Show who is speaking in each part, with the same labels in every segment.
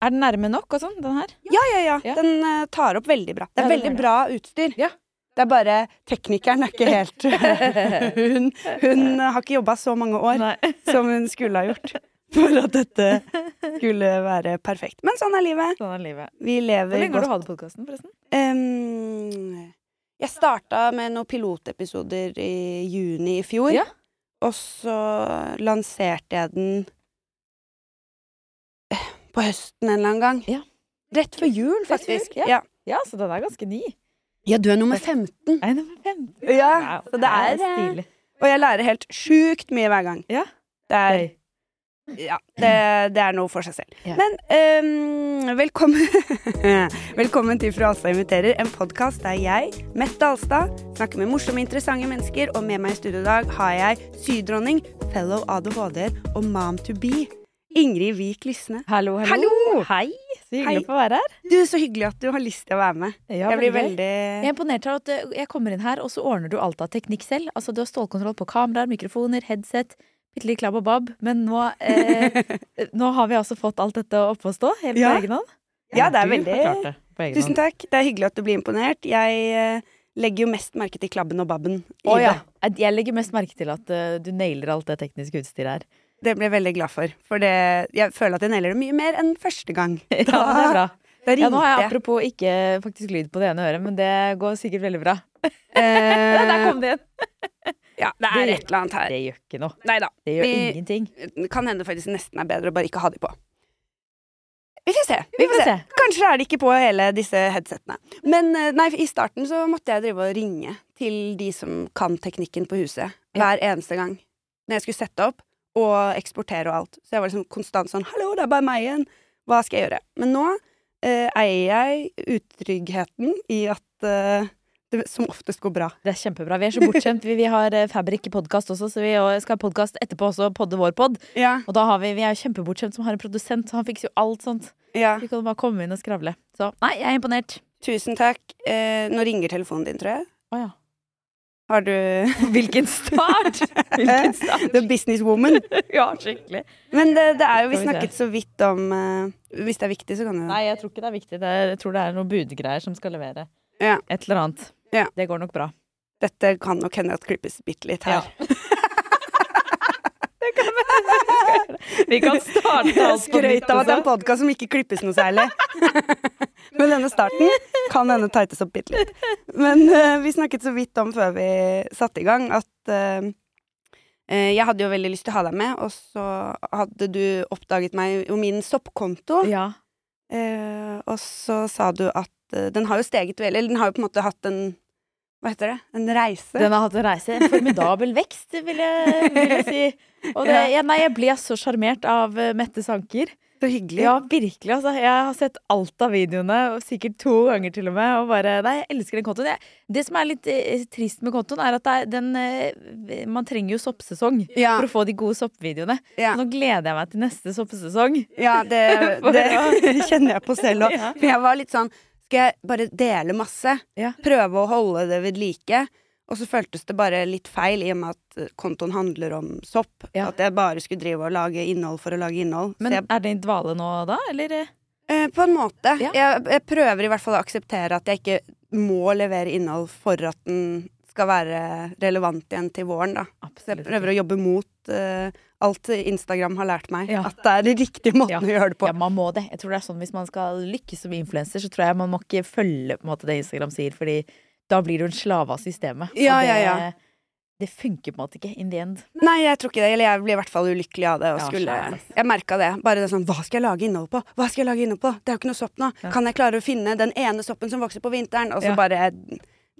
Speaker 1: Er den nærme nok og sånn, den her?
Speaker 2: Ja, ja, ja.
Speaker 1: Ja.
Speaker 2: Den eh, tar opp veldig bra.
Speaker 1: Ja,
Speaker 2: Det er
Speaker 1: den
Speaker 2: veldig
Speaker 1: gjør det.
Speaker 2: bra utstyr.
Speaker 1: Ja.
Speaker 2: Det er bare teknikeren er ikke helt Hun, hun har ikke jobba så mange år
Speaker 1: Nei.
Speaker 2: som hun skulle ha gjort for at dette skulle være perfekt. Men sånn er livet.
Speaker 1: Sånn er livet.
Speaker 2: Vi
Speaker 1: Hvor
Speaker 2: lever
Speaker 1: lenge har du
Speaker 2: godt.
Speaker 1: hatt podkasten, forresten?
Speaker 2: Em, jeg starta med noen pilotepisoder i juni i fjor.
Speaker 1: Ja.
Speaker 2: Og så lanserte jeg den eh, på høsten en eller annen gang.
Speaker 1: Ja.
Speaker 2: Rett før jul,
Speaker 1: før
Speaker 2: faktisk.
Speaker 1: jul, ja.
Speaker 2: ja.
Speaker 1: Ja, så den er ganske ny.
Speaker 2: Ja, du er nummer 15.
Speaker 1: Nei, nummer 15.
Speaker 2: Ja,
Speaker 1: Wow,
Speaker 2: så det er, eh,
Speaker 1: stilig.
Speaker 2: Og jeg lærer helt sjukt mye hver gang.
Speaker 1: Ja.
Speaker 2: Det er,
Speaker 1: Gøy.
Speaker 2: ja, det, det er noe for seg selv.
Speaker 1: Ja.
Speaker 2: Men øhm, velkommen Velkommen til Fru Alstad inviterer, en podkast der jeg, Mette Alstad, snakker med morsomme, interessante mennesker, og med meg i studio i dag har jeg sydronning, fellow ADHD-er og mom to be, Ingrid Vik Lysne.
Speaker 1: Hallo, hallo.
Speaker 2: Hallo!
Speaker 1: Hei. Så hyggelig
Speaker 2: Hei.
Speaker 1: å få være her.
Speaker 2: Du, så hyggelig at du har lyst til å være med.
Speaker 1: Ja,
Speaker 2: Jeg blir
Speaker 1: veldig gøy.
Speaker 2: veldig
Speaker 1: Jeg er imponert over at eh, jeg kommer inn her, og så ordner du alt av teknikk selv. Altså, Du har stålkontroll på kameraer, mikrofoner, headset, bitte litt klabb og babb. Men nå, eh, nå har vi altså fått alt dette oppe å stå, helt på
Speaker 2: Ja.
Speaker 1: egen hånd.
Speaker 2: Ja, det er
Speaker 1: Du har
Speaker 2: veldig
Speaker 1: klart det på egen
Speaker 2: Tusen
Speaker 1: hånd.
Speaker 2: takk. Det er hyggelig at du blir imponert. Jeg eh, legger jo mest merke til klabben og babben. i
Speaker 1: Å ja.
Speaker 2: det.
Speaker 1: Jeg legger mest merke til at eh, du nailer alt det tekniske utstyret her.
Speaker 2: Det ble jeg veldig glad for. For det, jeg føler at jeg nailer det mye mer enn første gang.
Speaker 1: Ja, det er bra. Ja, nå
Speaker 2: Da ringte
Speaker 1: har jeg
Speaker 2: jeg.
Speaker 1: apropos ikke faktisk lyd på det ene øret, men det går sikkert veldig bra. Ja, der
Speaker 2: Eh,
Speaker 1: kom det igjen.
Speaker 2: ja, det
Speaker 1: Det
Speaker 2: er
Speaker 1: gjør-
Speaker 2: et eller annet her.
Speaker 1: Det gjør ikke noe.
Speaker 2: Nei da.
Speaker 1: Det gjør
Speaker 2: Vi-
Speaker 1: ingenting.
Speaker 2: Kan hende faktisk nesten er bedre å bare ikke ha de på. Vi får se.
Speaker 1: Vi får se.
Speaker 2: Kanskje er de ikke på hele disse headsetene. Men eh, nei, i starten så måtte jeg drive og ringe til de som kan teknikken på huset.
Speaker 1: Ja.
Speaker 2: Hver eneste gang. Når jeg skulle sette opp og eksportere og alt. Så jeg var liksom konstant sånn 'Hallo, det er bare meg igjen. Hva skal jeg gjøre?' Men nå eh, eier jeg utryggheten i at eh, det som oftest går bra.
Speaker 1: Det er kjempebra. Vi er så bortskjemt. Vi, vi har eh, Fabrik podkast også, så vi og- skal ha podkast etterpå også, og podde vår pod.
Speaker 2: Ja,
Speaker 1: Og da har vi, vi er kjempebortskjemt som har en produsent, så han fikser jo alt sånt.
Speaker 2: ja.
Speaker 1: Vi kan bare komme inn og skravle. Så nei, jeg er imponert.
Speaker 2: Tusen takk. Eh, nå ringer telefonen din, tror jeg.
Speaker 1: Å ja.
Speaker 2: Har du
Speaker 1: Hvilken start! Hvilken start.
Speaker 2: The businesswoman.
Speaker 1: Ja, skikkelig.
Speaker 2: Men det, det er jo
Speaker 1: Skal vi
Speaker 2: Vi
Speaker 1: se.
Speaker 2: snakket så vidt om eh, Hvis det er viktig, så kan du
Speaker 1: Nei, jeg tror ikke det er viktig. Det er, jeg tror det er noen budgreier som skal levere.
Speaker 2: Ja.
Speaker 1: Et eller annet.
Speaker 2: Ja.
Speaker 1: Det går nok bra.
Speaker 2: Dette kan nok hende at klippes bitte litt her.
Speaker 1: Vi kan starte alt på nytt.
Speaker 2: Jeg
Speaker 1: altså.
Speaker 2: Skrøt av at det er en
Speaker 1: også.
Speaker 2: podkast som ikke klippes noe særlig. Men denne starten kan hende tightes opp bitte litt. Men eh, vi snakket så vidt om før vi satte i gang, at eh, eh, jeg hadde jo veldig lyst til å ha deg med, og så hadde du oppdaget meg og min soppkonto.
Speaker 1: Ja.
Speaker 2: Eh, og så sa du at eh, den har jo steget veldig, eller den har jo på en måte hatt en Hva heter det? En reise.
Speaker 1: Den har hatt en reise. En formidabel vekst, vil jeg, vil jeg si. Og det, ja, nei, jeg ble så sjarmert av eh, Mette Sanker.
Speaker 2: så hyggelig.
Speaker 1: Ja, virkelig. Altså. Jeg har sett alt av videoene, og sikkert to ganger til og med. Og bare, nei, jeg elsker den kontoen. Jeg, det som er litt eh, trist med kontoen, er at det er den, eh, man trenger jo soppsesong
Speaker 2: Ja,
Speaker 1: for å få de gode soppvideoene.
Speaker 2: ja,
Speaker 1: Så nå gleder jeg meg til neste soppsesong.
Speaker 2: ja det,
Speaker 1: For
Speaker 2: det kjenner jeg på selv òg.
Speaker 1: Ja.
Speaker 2: For jeg var litt sånn Skal jeg bare dele masse?
Speaker 1: Ja.
Speaker 2: Prøve å holde det ved like? Og så føltes det bare litt feil, i og med at eh, kontoen handler om sopp.
Speaker 1: Ja.
Speaker 2: At jeg bare skulle drive og lage innhold for å lage innhold.
Speaker 1: Men
Speaker 2: så jeg,
Speaker 1: er det i dvale nå da, eller? eh?
Speaker 2: eh, på en måte.
Speaker 1: Ja.
Speaker 2: Jeg, jeg prøver i hvert fall å akseptere at jeg ikke må levere innhold for at den skal være relevant igjen til våren, da. Så jeg
Speaker 1: Absolutt.
Speaker 2: prøver å jobbe mot eh, alt Instagram har lært meg.
Speaker 1: Ja.
Speaker 2: At det er den riktige måten
Speaker 1: Ja.
Speaker 2: å gjøre det på.
Speaker 1: Ja, man må det. Jeg tror det er sånn Hvis man skal lykkes som influenser, så tror jeg man må ikke følge på en måte, det Instagram sier, Fordi da blir du en slave av systemet. Og
Speaker 2: Ja,
Speaker 1: det,
Speaker 2: ja, ja.
Speaker 1: det funker på en måte ikke in the end.
Speaker 2: Nei, jeg tror ikke det. Eller jeg blir i hvert fall ulykkelig av det. Og
Speaker 1: Ja,
Speaker 2: skulle,
Speaker 1: skjønner det.
Speaker 2: jeg merka det. Bare det sånn Hva skal jeg lage innhold på? Hva skal jeg lage innhold på? Det er jo ikke noe sopp nå. Kan jeg klare å finne den ene soppen som vokser på vinteren? Og så
Speaker 1: Ja.
Speaker 2: bare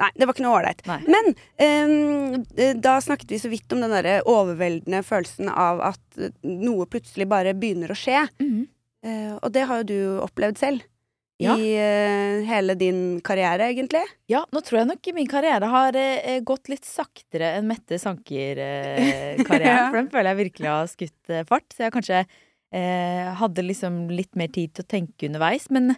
Speaker 2: Nei, det var ikke noe ålreit.
Speaker 1: Nei.
Speaker 2: Men ehm, eh, da snakket vi så vidt om den derre overveldende følelsen av at eh, noe plutselig bare begynner å skje.
Speaker 1: Mm-hmm.
Speaker 2: Eh, og det har jo du opplevd selv.
Speaker 1: Ja.
Speaker 2: I eh, hele din karriere, egentlig.
Speaker 1: Ja, nå tror jeg nok min karriere har eh, gått litt saktere enn Mette Sanker-karrieren.
Speaker 2: Ja.
Speaker 1: For den føler jeg virkelig har skutt eh, fart. Så jeg kanskje eh, hadde liksom litt mer tid til å tenke underveis. Men,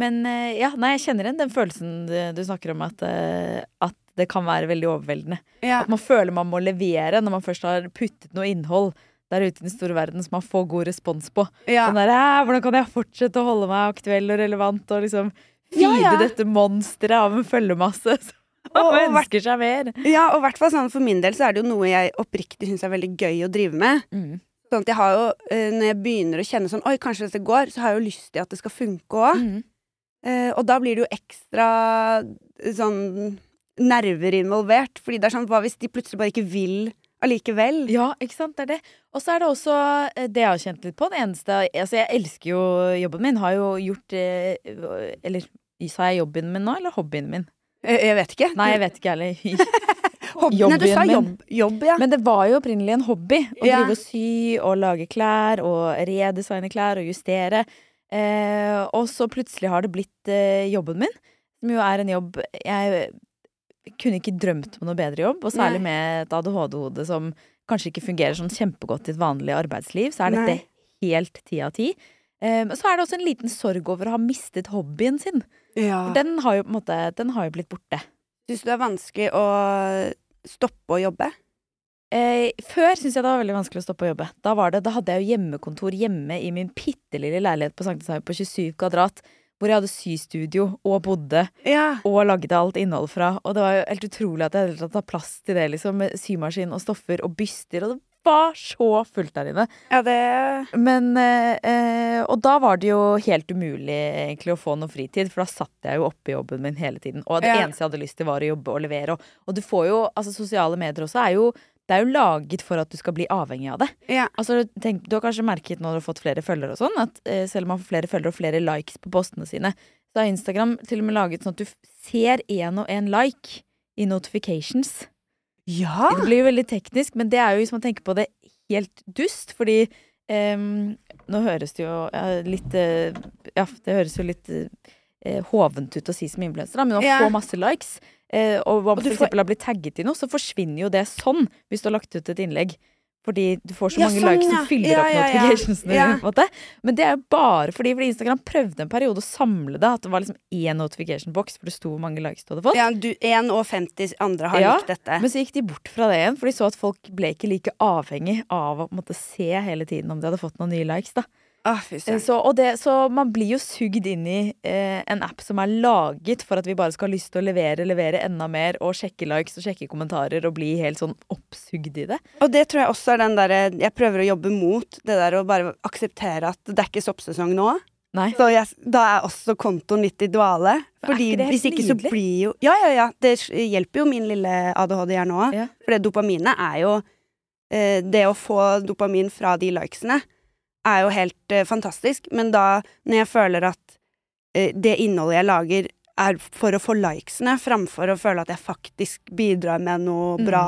Speaker 1: men eh, ja, nei, jeg kjenner igjen den følelsen du, du snakker om, at, eh, at det kan være veldig overveldende.
Speaker 2: Ja.
Speaker 1: At man føler man må levere når man først har puttet noe innhold der ute i den store verden som man får god respons på.
Speaker 2: Ja.
Speaker 1: Den der, «Æ, hvordan kan jeg fortsette å holde meg aktuell og relevant og liksom feede
Speaker 2: Ja, ja.
Speaker 1: dette monsteret av en følgemasse som
Speaker 2: Og- og
Speaker 1: ønsker seg mer?
Speaker 2: ja, og hvert fall sånn for min del så er det jo noe jeg oppriktig syns er veldig gøy å drive med.
Speaker 1: Mm.
Speaker 2: Sånn at jeg har jo, eh, når jeg begynner å kjenne sånn Oi, kanskje dette går, så har jeg jo lyst til at det skal funke òg.
Speaker 1: Mm.
Speaker 2: Eh, og da blir det jo ekstra eh, sånn nerver involvert. Fordi det er sånn, hva hvis de plutselig bare ikke vil allikevel?
Speaker 1: Ja, ikke sant, det er det. Og så er det også eh, det jeg har kjent litt på. Det eneste Altså, jeg elsker jo jobben min. Har jo gjort eh, Eller sa jeg jobben min nå, eller hobbyen min?
Speaker 2: Eh, jeg vet ikke.
Speaker 1: Nei, jeg vet ikke heller.
Speaker 2: Hob- Nei, du
Speaker 1: jobben
Speaker 2: sa
Speaker 1: min.
Speaker 2: jobb, jobb ja.
Speaker 1: Men det var jo opprinnelig en hobby å
Speaker 2: Ja.
Speaker 1: drive og sy og lage klær og redesigne klær og justere. Eh, og så plutselig har det blitt eh, jobben min, som jo er en jobb Jeg kunne ikke drømt om noe bedre jobb, og særlig med et ADHD-hode som kanskje ikke fungerer sånn kjempegodt i et vanlig arbeidsliv, så er dette
Speaker 2: Nei.
Speaker 1: helt ti av ti. Eh, men så er det også en liten sorg over å ha mistet hobbyen sin.
Speaker 2: ja.
Speaker 1: For den har jo på en måte Den har jo blitt borte.
Speaker 2: Syns du det er vanskelig å stoppe å jobbe?
Speaker 1: Eh, før syntes jeg det var veldig vanskelig å stoppe å jobbe. Da, var det, da hadde jeg jo hjemmekontor hjemme i min bitte lille leilighet på Sankthanshaug på 27 kvadrat, hvor jeg hadde systudio og bodde
Speaker 2: Ja.
Speaker 1: og lagde alt innhold fra. Og det var jo helt utrolig at jeg i det hele tatt hadde plass til det, liksom, med symaskin og stoffer og byster, og det var så fullt der inne.
Speaker 2: Ja, det
Speaker 1: Men eh, eh, Og da var det jo helt umulig egentlig å få noe fritid, for da satt jeg jo oppe i jobben min hele tiden. Og det
Speaker 2: Ja.
Speaker 1: eneste jeg hadde lyst til, var å jobbe og levere. Og, og du får jo Altså, sosiale medier også er jo det er jo laget for at du skal bli avhengig av det.
Speaker 2: Ja.
Speaker 1: Altså, tenk, du har kanskje merket når du har fått flere følgere og sånn, at eh, selv om man får flere følgere og flere likes på postene sine, så har Instagram til og med laget sånn at du f- ser én og én like i notifications.
Speaker 2: ja.
Speaker 1: Det blir jo veldig teknisk, men det er jo hvis man tenker på det helt dust, fordi ehm, nå høres det jo ja, litt eh, Ja, det høres jo litt eh, hovent ut å si som influenser, da, men å
Speaker 2: Ja.
Speaker 1: få masse likes, eh, og om
Speaker 2: Og
Speaker 1: man
Speaker 2: du
Speaker 1: for
Speaker 2: får-
Speaker 1: eksempel har blitt tagget i noe, så forsvinner jo det sånn hvis du har lagt ut et innlegg. Fordi du får så
Speaker 2: Ja,
Speaker 1: mange
Speaker 2: sånn,
Speaker 1: likes
Speaker 2: ja.
Speaker 1: som fyller
Speaker 2: Ja,
Speaker 1: opp
Speaker 2: ja, ja.
Speaker 1: notificationsene.
Speaker 2: Ja.
Speaker 1: på en måte. Men det er jo bare fordi, fordi Instagram prøvde en periode å samle det. At det var liksom én notification box hvor det sto hvor mange likes du hadde fått.
Speaker 2: ja du, 1 og 50 andre har
Speaker 1: Ja,
Speaker 2: likt dette.
Speaker 1: Men så gikk de bort fra det igjen, for de så at folk ble ikke like avhengig av å på en måte, se hele tiden om de hadde fått noen nye likes. Da.
Speaker 2: Å, fy
Speaker 1: Eh,
Speaker 2: søren.
Speaker 1: Så, og det, så man blir jo sugd inn i eh, en app som er laget for at vi bare skal ha lyst til å levere, levere enda mer, og sjekke likes og sjekke kommentarer og bli helt sånn oppsugd i det.
Speaker 2: Og det tror jeg også er den derre Jeg prøver å jobbe mot det der å bare akseptere at det er ikke soppsesong nå.
Speaker 1: Nei.
Speaker 2: Så jeg, da er også kontoen litt i dvale.
Speaker 1: Men er
Speaker 2: Fordi
Speaker 1: ikke det helt
Speaker 2: hvis ikke så
Speaker 1: nydelig?
Speaker 2: blir jo Ja, ja, ja. Det s- hjelper jo min lille ADHD-hjerne òg.
Speaker 1: Ja.
Speaker 2: For det dopaminet er jo eh, Det å få dopamin fra de likesene er jo helt eh, fantastisk. Men da, når jeg føler at eh, det innholdet jeg lager, er for å få likesene, framfor å føle at jeg faktisk bidrar med noe
Speaker 1: Mm.
Speaker 2: bra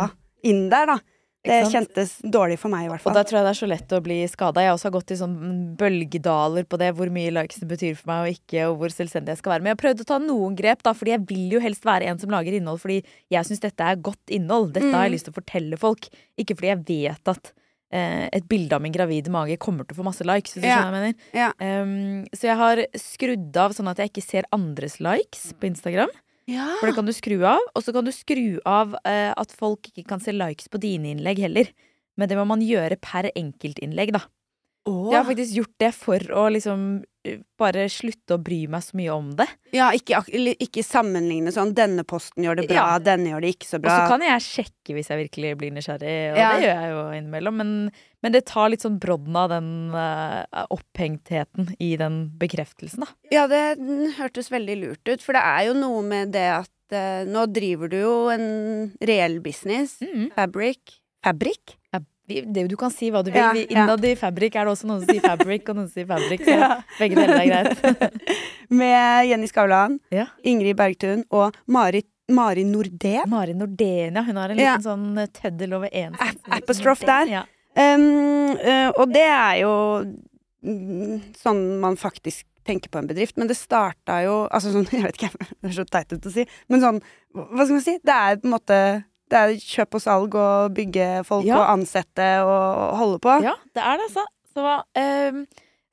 Speaker 2: inn der, da. Det
Speaker 1: Ikke sant?
Speaker 2: kjentes dårlig for meg, i hvert
Speaker 1: Og
Speaker 2: fall.
Speaker 1: da tror jeg det er så lett å bli skada. Jeg har også har gått i sånn bølgedaler på det, hvor mye likes det betyr for meg og ikke, og hvor selvstendig jeg skal være. Men jeg har prøvd å ta noen grep, da, fordi jeg vil jo helst være en som lager innhold, fordi jeg syns dette er godt innhold. Dette har
Speaker 2: Mm.
Speaker 1: jeg lyst til å fortelle folk. Ikke fordi jeg vet at eh, et bilde av min gravide mage kommer til å få masse likes, hvis du
Speaker 2: Ja.
Speaker 1: skjønner hva jeg mener.
Speaker 2: Ja.
Speaker 1: Ehm, så jeg har skrudd av sånn at jeg ikke ser andres likes på Instagram.
Speaker 2: Ja.
Speaker 1: For det kan du skru av. Og så kan du skru av eh, at folk ikke kan se likes på dine innlegg heller. Men det må man gjøre per enkeltinnlegg, da. Jeg har faktisk gjort det for å liksom eh, bare slutte å bry meg så mye om det.
Speaker 2: Ja, ikke, ak- eller ikke sammenligne sånn 'denne posten gjør det bra,
Speaker 1: Ja.
Speaker 2: denne gjør det ikke så
Speaker 1: Og så
Speaker 2: bra'.
Speaker 1: kan jeg sjekke hvis jeg virkelig blir nysgjerrig, og
Speaker 2: Ja.
Speaker 1: det gjør jeg jo innimellom. Men, men det tar litt sånn brodden av den eh, opphengtheten i den bekreftelsen, da.
Speaker 2: Ja, det mm, hørtes veldig lurt ut, for det er jo noe med det at eh, nå driver du jo en reell business.
Speaker 1: Mhm.
Speaker 2: Fabric. Fabric?
Speaker 1: Ja, vi- det, du kan si hva du vil.
Speaker 2: Ja,
Speaker 1: Vi-
Speaker 2: ja.
Speaker 1: Innad i Fabric er det også noen som sier Fabric, og noen som sier Fabric. Så begge deler er greit.
Speaker 2: Med Jenny Skavlan,
Speaker 1: Ja.
Speaker 2: Ingrid Bergtun og Mari, Mari Nordén.
Speaker 1: Mari Nordén, ja. Hun har en
Speaker 2: Ja.
Speaker 1: liten sånn eh, tøddel over én
Speaker 2: App-
Speaker 1: centimeter.
Speaker 2: apostrophe der.
Speaker 1: Ja.
Speaker 2: Um, eh, og det er jo mm, sånn man faktisk tenker på en bedrift, men det starta jo Altså sånn, jeg vet ikke, det er så teit ut å si, men sånn, hva skal man si? Det er på en måte det er kjøp og salg og bygge folk
Speaker 1: Ja.
Speaker 2: og ansette og holde på.
Speaker 1: ja, det er det, altså. Så, ehm,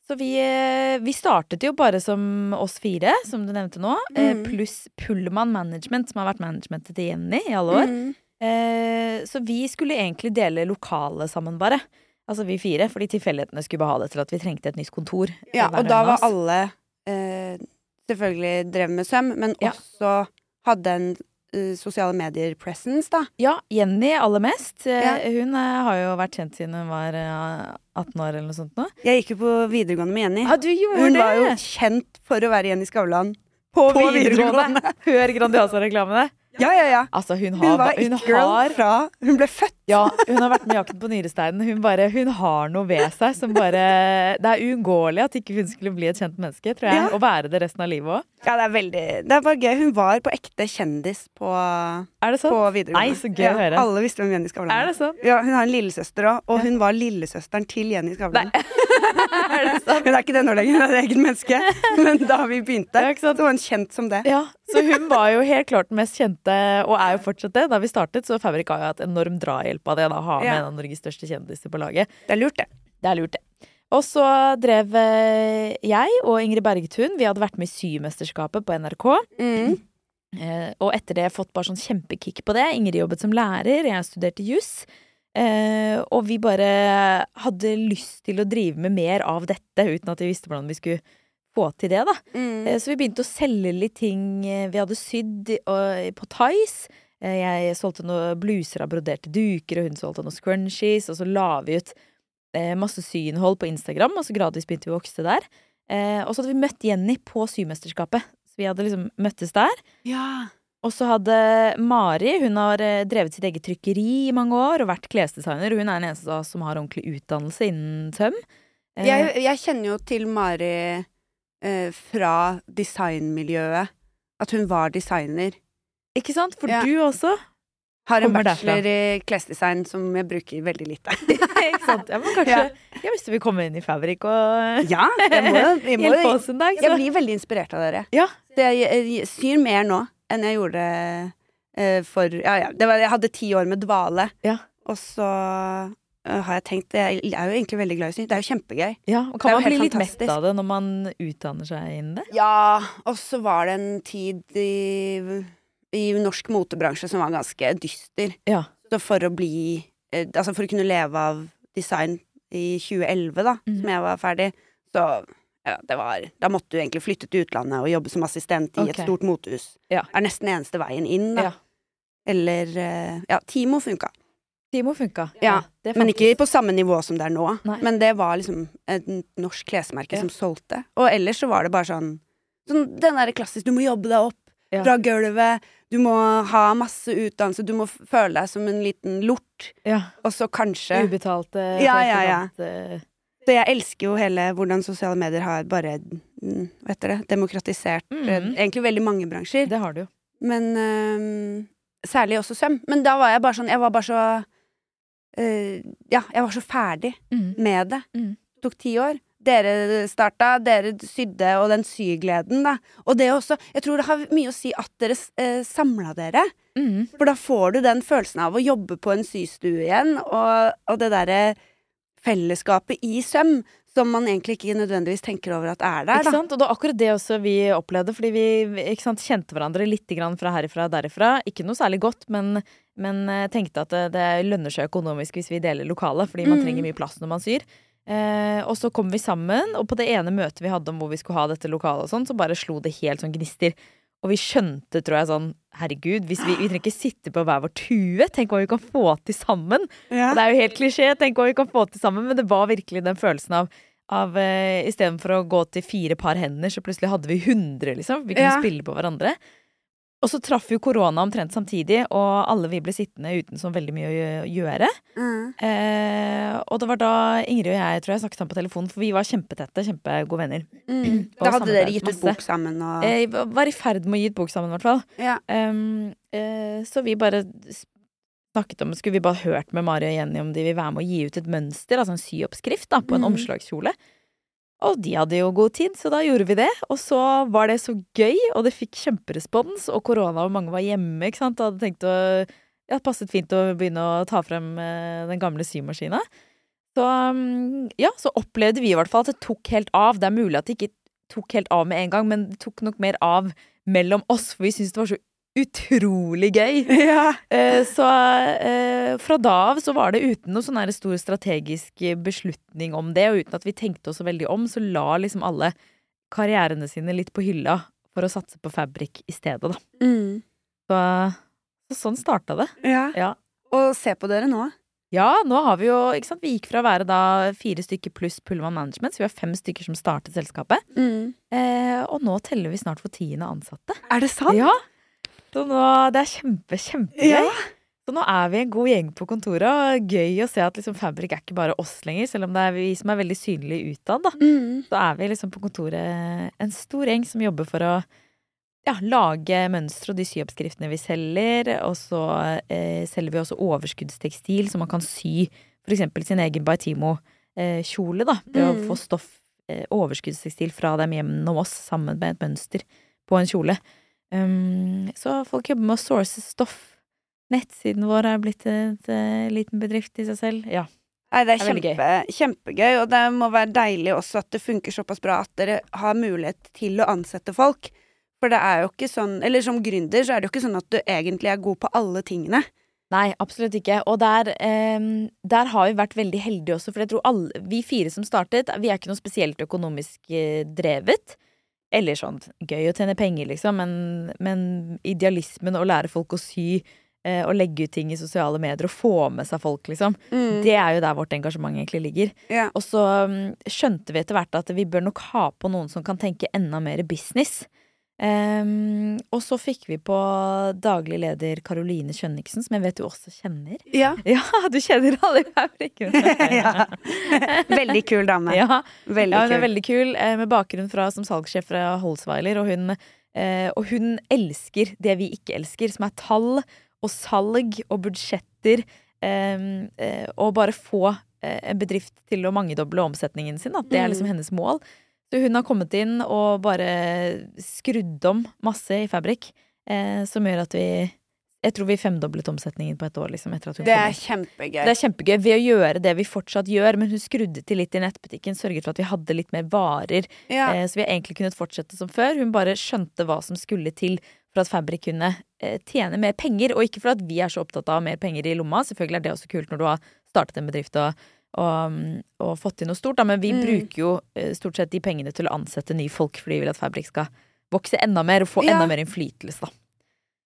Speaker 1: så vi, eh, vi startet jo bare som oss fire, som du nevnte nå, eh,
Speaker 2: Mm.
Speaker 1: pluss Pullman Management, som har vært managementet til Jenny i alle år.
Speaker 2: Mm.
Speaker 1: Eh, så vi skulle egentlig dele lokale sammen, bare. Altså vi fire, fordi tilfeldighetene skulle bare ha det til at vi trengte et nytt kontor.
Speaker 2: Ja,
Speaker 1: hver
Speaker 2: og
Speaker 1: og
Speaker 2: da
Speaker 1: en av
Speaker 2: var
Speaker 1: oss.
Speaker 2: alle eh, selvfølgelig drev med søm, men
Speaker 1: Ja.
Speaker 2: også hadde en eh, sosiale medier-presence, da.
Speaker 1: Ja, Jenny aller mest. Eh,
Speaker 2: Ja.
Speaker 1: Hun eh, har jo vært kjent siden hun var eh, 18 år eller noe sånt nå.
Speaker 2: Jeg gikk jo på videregående med Jenny.
Speaker 1: Ja, du gjorde
Speaker 2: Hun
Speaker 1: det!
Speaker 2: var jo kjent for å være Jenny Skavlan på, videregående.
Speaker 1: Hør Grandiosa-reklamene.
Speaker 2: Ja, ja, ja.
Speaker 1: Altså, hun har
Speaker 2: Hun var
Speaker 1: hun
Speaker 2: it-girl
Speaker 1: har-
Speaker 2: fra hun ble født.
Speaker 1: Ja, hun har vært med i Jakten på nyresteinen. Hun, bare, hun har noe ved seg som bare Det er uunngåelig at ikke hun skulle bli et kjent menneske, tror jeg.
Speaker 2: Ja.
Speaker 1: Og være det resten av livet òg.
Speaker 2: Ja, det er veldig Det er bare gøy. Hun var på ekte kjendis på,
Speaker 1: Er det
Speaker 2: på
Speaker 1: sant?
Speaker 2: videregående.
Speaker 1: Nei, så gøy
Speaker 2: ja,
Speaker 1: å høre.
Speaker 2: Alle visste hvem Jenny Skavlan
Speaker 1: Er det sånn?
Speaker 2: Ja, hun har en lillesøster òg, og hun var lillesøsteren til Jenny Skavlan.
Speaker 1: Er det sant?
Speaker 2: Hun er ikke det nå lenger, hun er et eget menneske, men da vi begynte,
Speaker 1: Ja, ikke sant?
Speaker 2: så var hun kjent som det.
Speaker 1: Ja, så hun var jo helt klart den mest kjente, og er jo fortsatt det. Da vi startet, så Fabrik har jo hatt enorm drahjelp av det, da, å ha med
Speaker 2: Ja.
Speaker 1: en av Norges største kjendiser på laget.
Speaker 2: Det er lurt, det.
Speaker 1: Det er lurt, det. Og så drev eh, jeg og Ingrid Bergtun, vi hadde vært med i Symesterskapet på NRK.
Speaker 2: Mm.
Speaker 1: Eh, og etter det fått bare sånn kjempekick på det. Ingrid jobbet som lærer, jeg studerte juss. Eh, og vi bare hadde lyst til å drive med mer av dette, uten at vi visste hvordan vi skulle få til det. da.
Speaker 2: Mm.
Speaker 1: Eh, så vi begynte å selge litt ting eh, vi hadde sydd og, på Tice. Eh, jeg solgte noen bluser av broderte duker, og hun solgte noen scrunchies. Og så la vi ut eh, masse syinnhold på Instagram, og så gradvis begynte vi å vokse der. Eh, og så hadde vi møtt Jenny på Symesterskapet. Så vi hadde liksom møttes der.
Speaker 2: Ja.
Speaker 1: Og så hadde Mari hun har eh, drevet sitt eget trykkeri i mange år og vært klesdesigner. Hun er den eneste av oss som har ordentlig utdannelse innen tøm. Eh,
Speaker 2: Jeg, jeg kjenner jo til Mari eh, fra designmiljøet. At hun var designer.
Speaker 1: ikke sant? For
Speaker 2: Ja.
Speaker 1: du også.
Speaker 2: Har en
Speaker 1: Kommer derfra.
Speaker 2: bachelor i klesdesign som jeg bruker veldig lite.
Speaker 1: ikke sant? Ja, men kanskje Jeg visste vi kom inn i Fabrik og
Speaker 2: ja, jeg må, jo- jeg må,
Speaker 1: hjelpe
Speaker 2: jo-
Speaker 1: oss en dag.
Speaker 2: Jeg
Speaker 1: Så.
Speaker 2: blir veldig inspirert av dere.
Speaker 1: Ja.
Speaker 2: Så jeg, jeg, jeg syr mer nå enn jeg gjorde eh, for Ja, ja. Det var, jeg hadde ti år med dvale,
Speaker 1: Ja.
Speaker 2: og så eh, har jeg tenkt Jeg er jo egentlig veldig glad i å sy. Det er jo kjempegøy.
Speaker 1: Ja, og kan
Speaker 2: Det er jo
Speaker 1: man bli
Speaker 2: helt
Speaker 1: litt mett
Speaker 2: fantastisk.
Speaker 1: av det når man utdanner seg innen det?
Speaker 2: Ja, og så var det en tid i, i norsk motebransje som var ganske dyster.
Speaker 1: Ja.
Speaker 2: Så for å bli eh, Altså for å kunne leve av design i 2011, da,
Speaker 1: Mhm.
Speaker 2: som jeg var ferdig, så ja, det var, da måtte du egentlig flytte til utlandet og jobbe som assistent i et
Speaker 1: Ok.
Speaker 2: stort motehus.
Speaker 1: Ja.
Speaker 2: Er nesten eneste veien inn, da.
Speaker 1: Ja.
Speaker 2: Eller eh, Ja, Timo funka.
Speaker 1: Timo funka.
Speaker 2: Ja,
Speaker 1: det
Speaker 2: Men
Speaker 1: fantes.
Speaker 2: ikke på samme nivå som det er nå.
Speaker 1: Nei.
Speaker 2: Men det var liksom et norsk klesmerke
Speaker 1: Ja.
Speaker 2: som solgte. Og ellers så var det bare sånn, sånn Den derre klassisk Du må jobbe deg opp
Speaker 1: Ja.
Speaker 2: fra gulvet. Du må ha masse utdannelse. Du må f- føle deg som en liten lort.
Speaker 1: ja.
Speaker 2: Og så kanskje
Speaker 1: Ubetalte
Speaker 2: Ja, ja, ja.
Speaker 1: eh,
Speaker 2: Så jeg elsker jo hele hvordan sosiale medier har bare mm, Hva heter det? Demokratisert eh,
Speaker 1: Mhm.
Speaker 2: egentlig veldig mange bransjer.
Speaker 1: Det har du jo.
Speaker 2: Men øhm, særlig også søm. Men da var jeg bare sånn Jeg var bare så øh, Ja, jeg var så ferdig
Speaker 1: Mm.
Speaker 2: med det.
Speaker 1: Mm.
Speaker 2: Tok ti år. Dere starta, dere sydde, og den sygleden, da. Og det også Jeg tror det har mye å si at dere uh, samla dere.
Speaker 1: Mm.
Speaker 2: For da får du den følelsen av å jobbe på en systue igjen, og, og det derre fellesskapet i søm som man egentlig ikke nødvendigvis tenker over at er der,
Speaker 1: Ikke
Speaker 2: da.
Speaker 1: sant? Og det var akkurat det også vi opplevde, fordi vi ikke sant, kjente hverandre litt grann fra herifra og derifra. Ikke noe særlig godt, men, men eh, tenkte at det, det lønner seg økonomisk hvis vi deler lokalet, fordi man
Speaker 2: Mm.
Speaker 1: trenger mye plass når man syr. Eh, og så kom vi sammen, og på det ene møtet vi hadde om hvor vi skulle ha dette lokalet, og sånn, så bare slo det helt sånn gnister. Og vi skjønte, tror jeg, sånn herregud, hvis vi, vi trenger ikke sitte på hver vår tue. Tenk hva vi kan få til sammen. Og det er jo helt klisjé, tenk hva vi kan få til sammen, men det var virkelig den følelsen av, av eh, Istedenfor å gå til fire par hender, så plutselig hadde vi 100, liksom. Vi kunne
Speaker 2: Ja.
Speaker 1: spille på hverandre. Og så traff jo korona omtrent samtidig, og alle vi ble sittende uten så veldig mye å gjø- gjøre.
Speaker 2: Mm.
Speaker 1: Eh, og det var da Ingrid og jeg tror jeg snakket sammen på telefonen, for vi var kjempetette, kjempegode venner.
Speaker 2: Mm.
Speaker 1: Og
Speaker 2: Da hadde dere
Speaker 1: samarbeidet
Speaker 2: gitt ut
Speaker 1: masse.
Speaker 2: bok sammen og
Speaker 1: Eh, var i ferd med å gi ut bok sammen, i hvert fall.
Speaker 2: Ah. ja.
Speaker 1: Ehm, eh, så vi bare s- snakket om Skulle vi bare hørt med Mari og Jenny om de vil være med å gi ut et mønster, altså en syoppskrift, da, på en
Speaker 2: Mhm.
Speaker 1: omslagskjole. Og de hadde jo god tid, så da gjorde vi det. Og så var det så gøy, og det fikk kjemperespons, og korona og mange var hjemme, ikke sant, og hadde tenkt å Ja, det passet fint å begynne å ta frem eh, den gamle symaskina. Så mm, ja, så opplevde vi i hvert fall at det tok helt av. Det er mulig at det ikke tok helt av med en gang, men det tok nok mer av mellom oss, for vi syntes det var så utrolig gøy.
Speaker 2: Ja.
Speaker 1: Eh, Så eh, fra da av så var det uten noe sånn her stor strategisk beslutning om det, og uten at vi tenkte oss så veldig om, så la liksom alle karrierene sine litt på hylla for å satse på Fabrik i stedet, da.
Speaker 2: Mm.
Speaker 1: Så, så sånn starta det. Ja.
Speaker 2: Og se på dere nå.
Speaker 1: Ja, nå har vi jo, ikke sant, vi gikk fra å være da fire stykker pluss Pullman Management, så vi har fem stykker som startet selskapet, eh, og nå teller vi snart for tiende ansatte.
Speaker 2: Er det sant?
Speaker 1: Ja. Så nå, det er kjempe, kjempegøy.
Speaker 2: Ja.
Speaker 1: Så nå er vi en god gjeng på kontoret, og gøy å se at liksom Fabrik er ikke bare oss lenger, selv om det er vi som er veldig synlige utad. Da.
Speaker 2: Mm.
Speaker 1: Så er vi liksom på kontoret en stor gjeng som jobber for å ja, lage mønstre og de syoppskriftene vi selger. Og så eh, selger vi også overskuddstekstil, så man kan sy f.eks. sin egen Baitimo-kjole. da, Ved
Speaker 2: Mm.
Speaker 1: å få stoff, eh, overskuddstekstil fra dem gjennom oss sammen med et mønster på en kjole. Um, så folk jobber med å source stoff. Nettsiden vår er blitt en liten bedrift i seg selv. Ja.
Speaker 2: Nei, det er,
Speaker 1: Det er veldig
Speaker 2: kjempe, kjempegøy, og det må være deilig også at det funker såpass bra at dere har mulighet til å ansette folk. For det er jo ikke sånn, eller som gründer så er det jo ikke sånn at du egentlig er god på alle tingene.
Speaker 1: Nei, absolutt ikke. Og der, em, der har vi vært veldig heldige også, for jeg tror alle, vi fire som startet, vi er ikke noe spesielt økonomisk eh, drevet. Eller sånn gøy å tjene penger, liksom, men, men idealismen å lære folk å sy eh, og legge ut ting i sosiale medier og få med seg folk, liksom,
Speaker 2: Det,
Speaker 1: det er jo der vårt engasjement egentlig ligger.
Speaker 2: ja.
Speaker 1: Og så mm, skjønte vi etter hvert at vi bør nok ha på noen som kan tenke enda mer business. Ehm, og så fikk vi på daglig leder Karoline Kjønniksen, som jeg vet du også kjenner.
Speaker 2: ja.
Speaker 1: Ja, du kjenner alle i fabrikken!
Speaker 2: Ja. Veldig kul dame.
Speaker 1: ja.
Speaker 2: Veldig
Speaker 1: Ja, hun er
Speaker 2: kul.
Speaker 1: veldig kul, eh, med bakgrunn fra som salgssjef fra Holzweiler. Og hun, eh, og hun elsker det vi ikke elsker, som er tall og salg og budsjetter. eh, eh, og bare få eh, en bedrift til å mangedoble omsetningen sin. Da. Det er liksom
Speaker 2: Mm.
Speaker 1: hennes mål. Så hun har kommet inn og bare skrudd om masse i Fabrik, eh, som gjør at vi Jeg tror vi femdoblet omsetningen på et år. Liksom, etter at hun
Speaker 2: Det
Speaker 1: kom inn.
Speaker 2: er kjempegøy.
Speaker 1: Det er kjempegøy ved å gjøre det vi fortsatt gjør, men hun skrudde til litt i nettbutikken, sørget for at vi hadde litt mer varer.
Speaker 2: ja.
Speaker 1: Eh, så vi har egentlig kunnet fortsette som før. Hun bare skjønte hva som skulle til for at Fabrik kunne eh, tjene mer penger. Og ikke for at vi er så opptatt av mer penger i lomma, selvfølgelig er det også kult når du har startet en bedrift og, og, mm, og fått til noe stort, da. men vi
Speaker 2: Mm.
Speaker 1: bruker jo eh, stort sett de pengene til å ansette nye folk, fordi vi vil at Fabrik skal vokse enda mer og få
Speaker 2: Ja.
Speaker 1: enda mer innflytelse, da.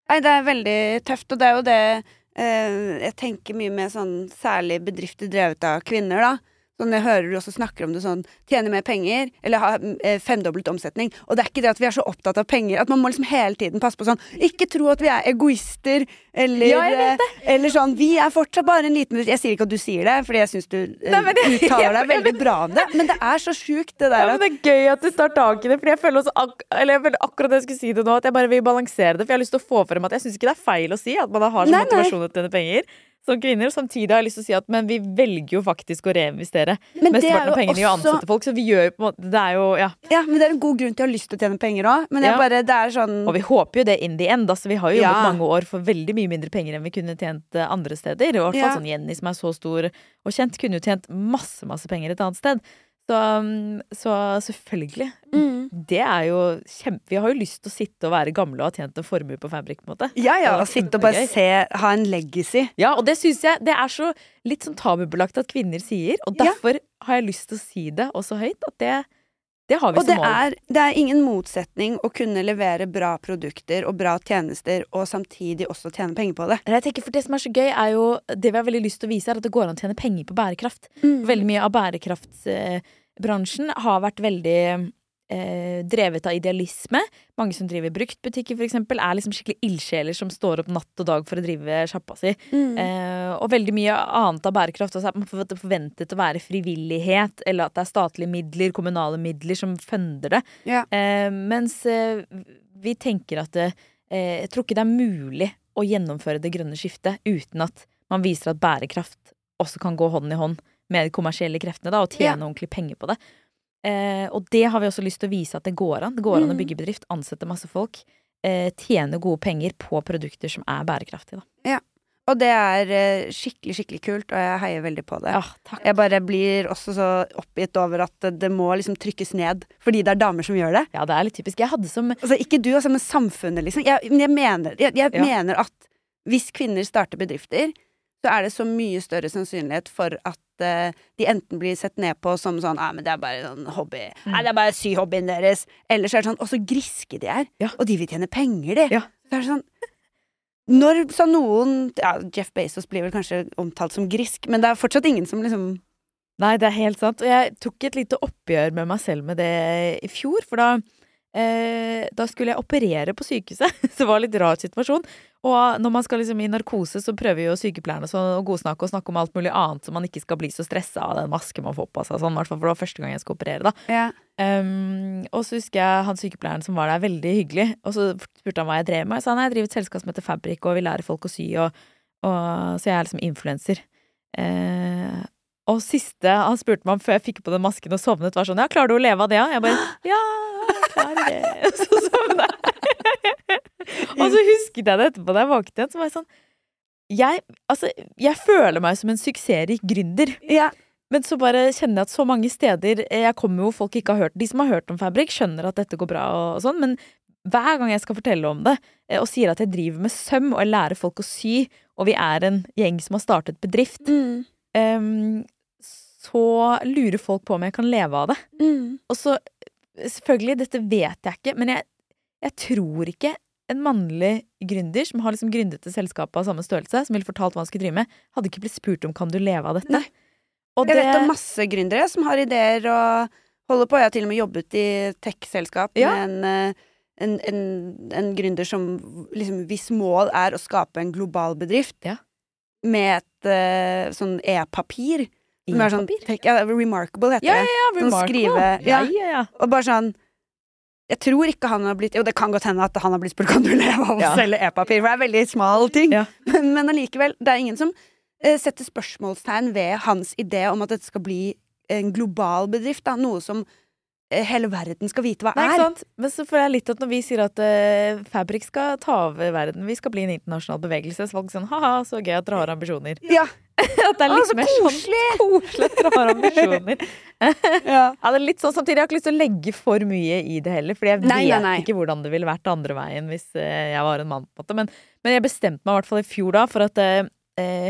Speaker 2: Nei, det er veldig tøft, og det er jo det eh, jeg tenker mye med sånn særlig bedrifter drevet av kvinner, da. Sånn, jeg hører du også snakker om det sånn tjene mer penger, eller ha eh, femdobbelt omsetning. Og det er ikke det at vi er så opptatt av penger, at man må liksom hele tiden passe på sånn Ikke tro at vi er egoister, eller,
Speaker 1: Ja, jeg vet
Speaker 2: eh, eller sånn Vi er fortsatt bare en liten bedrift. Jeg sier ikke at du sier det, fordi jeg syns du eh,
Speaker 1: Nei, men jeg-
Speaker 2: uttaler deg veldig bra om det, men det er så sjukt, det
Speaker 1: Ja, men
Speaker 2: der at
Speaker 1: det er gøy at du tar tak i det, Fordi jeg føler, også ak eller jeg føler akkurat det jeg skulle si det nå, at jeg bare vil balansere det. For jeg har lyst til å få frem at jeg syns ikke det er feil å si at man har som
Speaker 2: Nei, nei.
Speaker 1: motivasjon å tjene penger som kvinner. og Samtidig har jeg lyst til å si at men vi velger jo faktisk å reinvestere
Speaker 2: Men det er
Speaker 1: mesteparten av
Speaker 2: jo
Speaker 1: pengene i å
Speaker 2: også-
Speaker 1: ansette folk. Så vi gjør jo på en måte Det er jo Ja.
Speaker 2: Ja, men det er en god grunn til å ha lyst til å tjene penger òg, men jeg
Speaker 1: Ja.
Speaker 2: bare Det er sånn
Speaker 1: Og vi håper jo det in the end. Altså, vi har jo jobbet
Speaker 2: Ja.
Speaker 1: mange år for veldig mye mindre penger enn vi kunne tjent eh, andre steder. Og i hvert fall
Speaker 2: Ja.
Speaker 1: sånn Jenny, som er så stor og kjent, kunne jo tjent masse, masse penger et annet sted. Så, mm, så selvfølgelig.
Speaker 2: Mm.
Speaker 1: Det er jo kjempe... Vi har jo lyst til å sitte og være gamle og ha tjent en formue på Fabrik. på en måte.
Speaker 2: Ja,
Speaker 1: Det
Speaker 2: ja,
Speaker 1: var
Speaker 2: og sitte og bare
Speaker 1: kjempegøy.
Speaker 2: se, ha en legacy.
Speaker 1: Ja, og det syns jeg det er så litt sånn tabubelagt at kvinner sier, og
Speaker 2: Ja.
Speaker 1: derfor har jeg lyst til å si det også høyt, at det, det har vi
Speaker 2: Og det
Speaker 1: som mål.
Speaker 2: er, det er ingen motsetning å kunne levere bra produkter og bra tjenester, og samtidig også tjene penger på det.
Speaker 1: Men Jeg tenker, for Det som er så gøy, er jo det vi har veldig lyst til å vise, er at det går an å tjene penger på bærekraft. Veldig mye av bærekraftsbransjen har vært veldig eh, drevet av idealisme. Mange som driver bruktbutikker, f.eks., er liksom skikkelig ildsjeler som står opp natt og dag for å drive sjappa si.
Speaker 2: Mm.
Speaker 1: Eh, og veldig mye annet av bærekraft også er at man forventer- forventet å være frivillighet, eller at det er statlige midler, kommunale midler, som funder det.
Speaker 2: Ja.
Speaker 1: Eh, mens eh, vi tenker at det, eh, jeg tror ikke det er mulig å gjennomføre det grønne skiftet uten at man viser at bærekraft også kan gå hånd i hånd med de kommersielle kreftene da, og tjene ordentlig penger på det. Eh, og det har vi også lyst til å vise at det går an. Det går an å
Speaker 2: Mm.
Speaker 1: bygge bedrift, ansette masse folk, eh, tjene gode penger på produkter som er bærekraftige. Da.
Speaker 2: Og det er eh, skikkelig, skikkelig kult, og jeg heier veldig på det.
Speaker 1: Ja, takk.
Speaker 2: Jeg bare blir også så oppgitt over at det må liksom trykkes ned, fordi det er damer som gjør det.
Speaker 1: Ja, det er litt typisk. Jeg hadde som
Speaker 2: Altså, ikke du, altså, men samfunnet, liksom. Jeg, men jeg, mener, jeg, jeg
Speaker 1: Ja.
Speaker 2: mener at hvis kvinner starter bedrifter, så er det så mye større sannsynlighet for at eh, de enten blir sett ned på som sånn Nei, men det er bare en hobby.
Speaker 1: Mm.
Speaker 2: Nei, det er bare syhobbyen deres. Eller så er det sånn Å, så griske de er.
Speaker 1: Ja.
Speaker 2: Og de vil tjene penger, de.
Speaker 1: Ja.
Speaker 2: Så er det sånn Når sa noen ja, Jeff Bezos blir vel kanskje omtalt som grisk, men det er fortsatt ingen som liksom
Speaker 1: Nei, det er helt sant. Og jeg tok et lite oppgjør med meg selv med det i fjor. For da, eh, da skulle jeg operere på sykehuset, så det var en litt rar situasjon. Og når man skal liksom i narkose, så prøver jo sykepleierne så, å godsnakke og snakke om alt mulig annet, så man ikke skal bli så stressa av den masken man får på seg. Sånn, i hvert fall, for det var første gang jeg skulle operere, da.
Speaker 2: Ja.
Speaker 1: Um, og så husker jeg han sykepleieren som var der, veldig hyggelig. Og så spurte han hva jeg drev med. Jeg sa nei, jeg driver et selskap som heter Fabrik, og vi lærer folk å sy. Og, og, så jeg er liksom influenser. Eh, og siste han spurte meg om før jeg fikk på den masken og sovnet, var sånn ja, klarer du å leve av det, da? Jeg bare ja, jeg klarer det. Og så sovna jeg. og så husket jeg det etterpå da jeg våknet igjen, så var jeg sånn jeg, altså, jeg føler meg som en suksessrik gründer.
Speaker 2: ja.
Speaker 1: Men så bare kjenner jeg at så mange steder eh, Jeg kommer jo folk ikke har hørt De som har hørt om Fabrik skjønner at dette går bra og, og sånn Men hver gang jeg skal fortelle om det eh, Og sier at jeg driver med søm Og jeg lærer folk å sy Og vi er en gjeng som har startet bedrift
Speaker 2: Mm.
Speaker 1: em, Så lurer folk på om jeg kan leve av det
Speaker 2: Mm.
Speaker 1: Og så eh, Selvfølgelig, dette vet jeg ikke Men jeg, jeg tror ikke en mannlig gründer som har liksom gründet til selskapet av samme størrelse, som ville fortalt hva han skulle drive med, hadde ikke blitt spurt om kan du leve av dette.
Speaker 2: Nei.
Speaker 1: Og
Speaker 2: Jeg vet om masse gründere som har ideer og holder på. Jeg har til og med jobbet i tech-selskap
Speaker 1: Ja.
Speaker 2: med en, eh, en, en, en gründer som liksom, hvis mål er å skape en global bedrift
Speaker 1: Ja.
Speaker 2: med et eh, sånn e-papir. som er sånn
Speaker 1: E-papir?
Speaker 2: tech- ja, Remarkable heter
Speaker 1: Ja,
Speaker 2: det.
Speaker 1: ja,
Speaker 2: Sånn
Speaker 1: remarkable.
Speaker 2: skrive-
Speaker 1: ja.
Speaker 2: ja.
Speaker 1: ja, ja.
Speaker 2: Og bare sånn Jeg tror ikke han har blitt Jo, det kan godt hende at han har blitt spurt om du leve av å
Speaker 1: Ja.
Speaker 2: selge e-papir, for det er veldig smal ting.
Speaker 1: Ja.
Speaker 2: Men, men allikevel, det er ingen som eh, setter spørsmålstegn ved hans idé om at dette skal bli en global bedrift. Da, noe som eh, hele verden skal vite hva
Speaker 1: Nei, ikke
Speaker 2: er.
Speaker 1: sant? Men så føler jeg litt at når vi sier at uh, Fabrik skal ta over verden, vi skal bli en internasjonal bevegelse, så folk sånn ha-ha, så gøy at dere har ambisjoner.
Speaker 2: Ja,
Speaker 1: At det er
Speaker 2: Å,
Speaker 1: litt
Speaker 2: så
Speaker 1: mer sånn
Speaker 2: koselig!
Speaker 1: koselig at dere har ambisjoner.
Speaker 2: ja.
Speaker 1: Ja, det er litt sånn, Samtidig jeg har ikke lyst til å legge for mye i det heller, Fordi jeg vet
Speaker 2: Nei, nei, nei.
Speaker 1: ikke hvordan det ville vært andre veien hvis eh, jeg var en mann. på en måte Men, men jeg bestemte meg i hvert fall i fjor da for at eh, eh,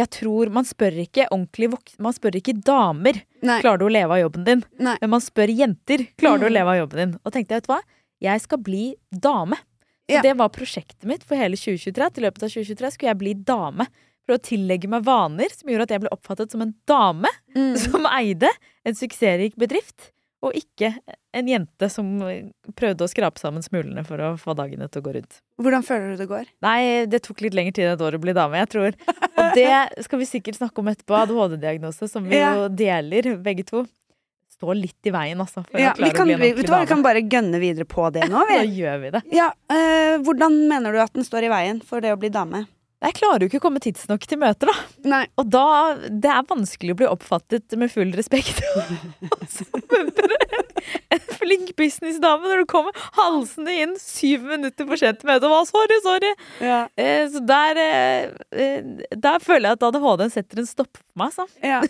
Speaker 1: jeg tror man spør ikke ordentlig vok Man spør ikke damer
Speaker 2: Nei.
Speaker 1: Klarer du å leve av jobben din?
Speaker 2: Nei.
Speaker 1: Men man spør jenter Klarer du
Speaker 2: Mm.
Speaker 1: å leve av jobben din? Og tenkte jeg, vet du hva? Jeg skal bli dame Så
Speaker 2: Ja.
Speaker 1: det var prosjektet mitt for hele 2023 Til løpet av 2023 skulle jeg bli dame For å tillegge meg vaner Som gjorde at jeg ble oppfattet som en dame
Speaker 2: Mm.
Speaker 1: Som eide en suksessrik bedrift Og ikke en jente som prøvde å skrape sammen smulene For å få dagene til å gå rundt
Speaker 2: Hvordan føler du det går?
Speaker 1: Nei, det tok litt lengre tid enn et år å bli dame, jeg tror. Og det skal vi sikkert snakke om etterpå. ADHD-diagnose, som vi
Speaker 2: Ja.
Speaker 1: jo deler, begge to. Står litt i veien, altså, for
Speaker 2: Ja,
Speaker 1: å
Speaker 2: vi,
Speaker 1: klare
Speaker 2: kan,
Speaker 1: å bli en
Speaker 2: vi, vet
Speaker 1: ordentlig
Speaker 2: du hva, vi
Speaker 1: dame.
Speaker 2: kan bare gønne videre på det nå.
Speaker 1: Da
Speaker 2: Vi.
Speaker 1: gjør vi det.
Speaker 2: Ja, eh, hvordan mener du at den står i veien for det å bli dame?
Speaker 1: Nei, Jeg klarer jo ikke å komme tidsnok til møter, da.
Speaker 2: Nei.
Speaker 1: Og da Det er vanskelig å bli oppfattet med full respekt som en, en flink businessdame når du kommer halsende inn syv minutter for sent til møtet og bare 'sorry, sorry'.
Speaker 2: Ja.
Speaker 1: Eh, Så der eh, eh, Der føler jeg at ADHD setter en stopp for meg, altså.
Speaker 2: Ja.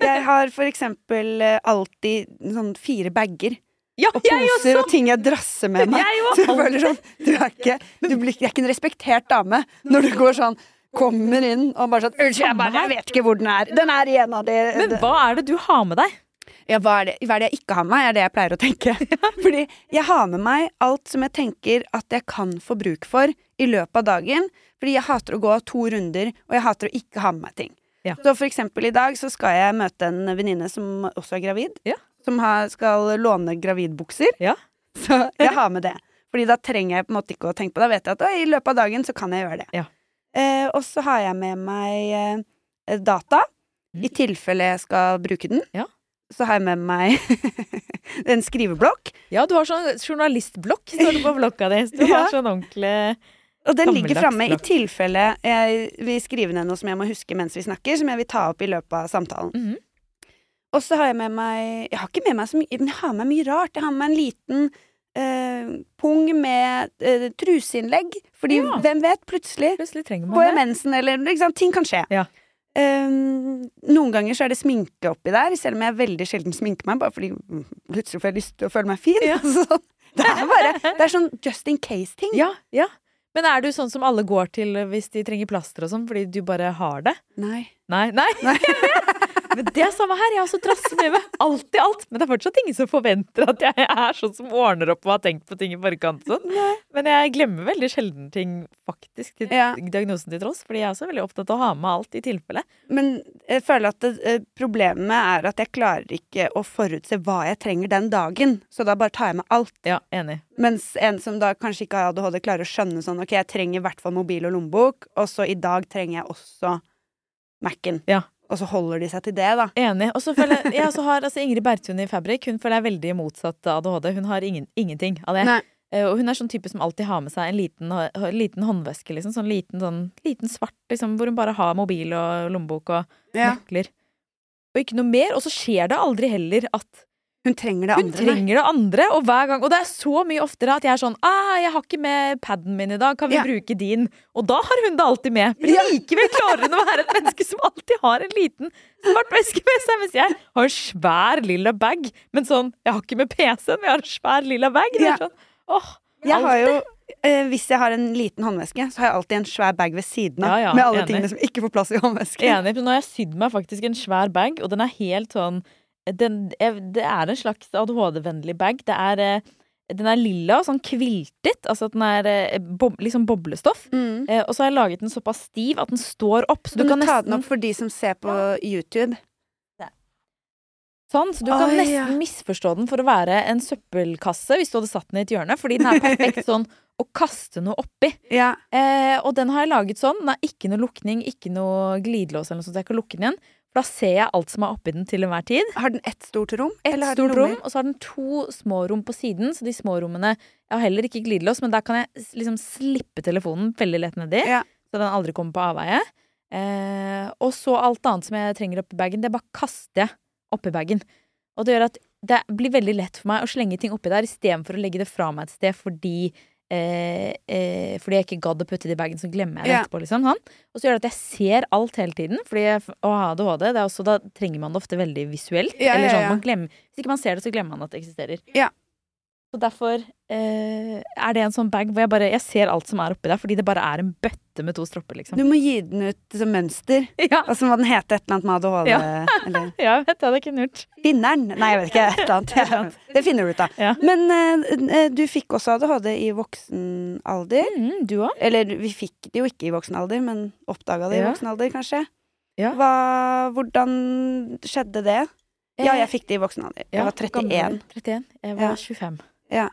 Speaker 2: Jeg har for eksempel eh, alltid sånn fire bager
Speaker 1: Ja,
Speaker 2: og
Speaker 1: jeg gjør
Speaker 2: poser og ting jeg drasser med meg.
Speaker 1: Jeg jo
Speaker 2: Så jeg føler sånn Du er ikke, du blir, ikke- du er ikke en respektert dame når du går sånn Kommer inn og bare sånn Unnskyld, jeg, bare, jeg vet ikke hvor den er. Den er i en av de
Speaker 1: Men hva er det du har med deg?
Speaker 2: ja, hva, er det, hva er det jeg ikke har med meg, er det jeg pleier å tenke. Fordi jeg har med meg alt som jeg tenker at jeg kan få bruk for i løpet av dagen. Fordi jeg hater å gå to runder, og jeg hater å ikke ha med meg ting.
Speaker 1: Ja.
Speaker 2: Så for eksempel i dag så skal jeg møte en venninne som også er gravid.
Speaker 1: Ja.
Speaker 2: Som har, skal låne gravidbukser.
Speaker 1: Ja.
Speaker 2: Så jeg har med det. Fordi da trenger jeg på en måte ikke å tenke på det. Da vet jeg at «Oi, i løpet av dagen så kan jeg gjøre det.
Speaker 1: Ja.
Speaker 2: Eh, og så har jeg med meg eh, data,
Speaker 1: Mm.
Speaker 2: i tilfelle jeg skal bruke den.
Speaker 1: Ja.
Speaker 2: Så har jeg med meg en skriveblokk,
Speaker 1: Ja, du har sånn journalistblokk, står det på blokka di. Du
Speaker 2: Ja.
Speaker 1: har sånn ordentlig
Speaker 2: og den
Speaker 1: Gammeldags
Speaker 2: ligger framme i
Speaker 1: blokk.
Speaker 2: tilfelle jeg vil skrive ned noe som jeg må huske mens vi snakker, som jeg vil ta opp i løpet av samtalen.
Speaker 1: Mhm.
Speaker 2: Og så har jeg med meg Jeg har ikke med meg så mye, men jeg har med meg mye rart. Jeg har med meg en liten eh, eh, pung med eh, truseinnlegg. Fordi
Speaker 1: Ja.
Speaker 2: hvem vet, plutselig
Speaker 1: Plutselig trenger
Speaker 2: går
Speaker 1: man
Speaker 2: jeg
Speaker 1: det.
Speaker 2: mensen, eller ikke sant? ting kan skje.
Speaker 1: Ja.
Speaker 2: Um, noen ganger så er det sminke oppi der, selv om jeg veldig sjelden sminker meg, bare fordi mm, plutselig får jeg lyst til å føle meg fin.
Speaker 1: Ja.
Speaker 2: Så, det er bare Det er sånn just in case-ting.
Speaker 1: Ja, ja. Men er du sånn som alle går til hvis de trenger plaster og sånn, fordi du bare har det?
Speaker 2: Nei.
Speaker 1: Nei, nei. Men det er samme her. Jeg har også drasse med meg alt i alt. Men det er fortsatt ingen som forventer at jeg er sånn som ordner opp og har tenkt på ting i forkant. og Sånn. Men jeg glemmer veldig sjelden ting, faktisk, til
Speaker 2: Ja.
Speaker 1: diagnosen til tross. Fordi jeg er også veldig opptatt av å ha med alt i tilfelle.
Speaker 2: Men jeg føler at det, eh, problemet er at jeg klarer ikke å forutse hva jeg trenger den dagen, så da bare tar jeg med alt.
Speaker 1: Ja, enig.
Speaker 2: Mens en som da kanskje ikke har ADHD, klarer å skjønne sånn Ok, jeg trenger i hvert fall mobil og lommebok, og så i dag trenger jeg også Mac-en.
Speaker 1: Ja.
Speaker 2: Og så holder de seg til det, da.
Speaker 1: Enig. Og så føler jeg, jeg også har altså Ingrid Bertun i Fabrik. Hun føler jeg er veldig motsatt av ADHD. Hun har ingen, ingenting av det.
Speaker 2: Nei.
Speaker 1: Eh, Og hun er sånn type som alltid har med seg en liten, hå- liten håndveske, liksom. Sånn liten, sånn, liten svart, liksom, hvor hun bare har mobil og lommebok og nøkler. Og ikke noe mer. Og så skjer det aldri heller at
Speaker 2: Hun trenger det
Speaker 1: hun
Speaker 2: andre. nei.
Speaker 1: trenger det andre. Og hver gang, og det er så mye oftere at jeg er sånn ah, 'Jeg har ikke med paden min i dag. Kan vi
Speaker 2: Ja.
Speaker 1: bruke din?' Og da har hun det alltid med. Men
Speaker 2: Ja.
Speaker 1: likevel klarer hun å være et menneske som alltid har en liten svart veske med seg. Mens jeg har en svær lilla bag. Men sånn 'Jeg har ikke med PC-en, men jeg har en svær lilla bag'. Det
Speaker 2: Ja.
Speaker 1: er sånn, åh,
Speaker 2: Jeg har
Speaker 1: alt-
Speaker 2: jo, eh, hvis jeg har en liten håndveske, så har jeg alltid en svær bag ved siden
Speaker 1: Ja,
Speaker 2: av.
Speaker 1: ja,
Speaker 2: med alle
Speaker 1: enig.
Speaker 2: tingene som ikke får plass i håndvesken.
Speaker 1: Enig, men nå har jeg sydd meg faktisk en svær bag, og den er helt sånn den, jeg- Det er en slags ADHD-vennlig bag. Det er, eh, den er lilla og sånn kviltet, altså at den er eh, bob, liksom boblestoff.
Speaker 2: Mm.
Speaker 1: Eh, og så har jeg laget den såpass stiv at den står opp, så du kan
Speaker 2: ta den
Speaker 1: nesten,
Speaker 2: opp for de som ser på YouTube.
Speaker 1: sånn, så du kan
Speaker 2: Oi, ja.
Speaker 1: nesten misforstå den for å være en søppelkasse hvis du hadde satt den i et hjørne, fordi den er perfekt sånn å kaste noe oppi.
Speaker 2: Ja.
Speaker 1: Eh, og den har jeg laget sånn. Den har ikke noe lukning, ikke noe glidelås eller noe sånt, så jeg kan lukke den igjen. For da ser jeg alt som er oppi den til enhver tid.
Speaker 2: Har den ett stort rom?
Speaker 1: Et
Speaker 2: eller har den
Speaker 1: stort
Speaker 2: lommer?
Speaker 1: rom, og så har den to små rom på siden. Så de små rommene Jeg har heller ikke glidelås, men der kan jeg s- liksom slippe telefonen veldig lett nedi.
Speaker 2: Ja.
Speaker 1: Så den aldri kommer på avveie. Eh, og så alt annet som jeg trenger oppi bagen, det bare kaster jeg oppi bagen. Og det gjør at det blir veldig lett for meg å slenge ting oppi der istedenfor å legge det fra meg et sted fordi eh, eh, fordi jeg ikke gadd å putte det i bagen, så glemmer jeg det
Speaker 2: Ja.
Speaker 1: etterpå. Liksom, sånn. Og så gjør det at jeg ser alt hele tiden, fordi jeg, f- å ha ADHD, det er også, da trenger man det ofte veldig visuelt.
Speaker 2: Ja,
Speaker 1: eller
Speaker 2: ja,
Speaker 1: sånn,
Speaker 2: ja.
Speaker 1: man glemmer, hvis ikke man ser det, så glemmer man at det eksisterer.
Speaker 2: Ja.
Speaker 1: Så derfor eh, er det en sånn bag hvor jeg bare jeg ser alt som er oppi der, fordi det bare er en bøtte med to stropper, liksom.
Speaker 2: Du må gi den ut som mønster.
Speaker 1: Ja,
Speaker 2: Og så må den hete et eller annet med ADHD. Eller
Speaker 1: ja jeg vet det hadde jeg kunnet gjort.
Speaker 2: Vinneren? Nei, jeg vet ikke. Et eller annet. Det finner du ut av.
Speaker 1: Ja.
Speaker 2: Men eh, eh, du fikk også ADHD i voksen alder.
Speaker 1: Mm, du òg?
Speaker 2: Eller vi fikk det jo ikke i voksen alder, men oppdaga det i
Speaker 1: Ja.
Speaker 2: voksen alder, kanskje.
Speaker 1: Ja.
Speaker 2: Hva, hvordan skjedde det? Ja, jeg fikk det i voksen alder. Jeg var 31.
Speaker 1: 31. Jeg var
Speaker 2: Ja.
Speaker 1: 25.
Speaker 2: Ja.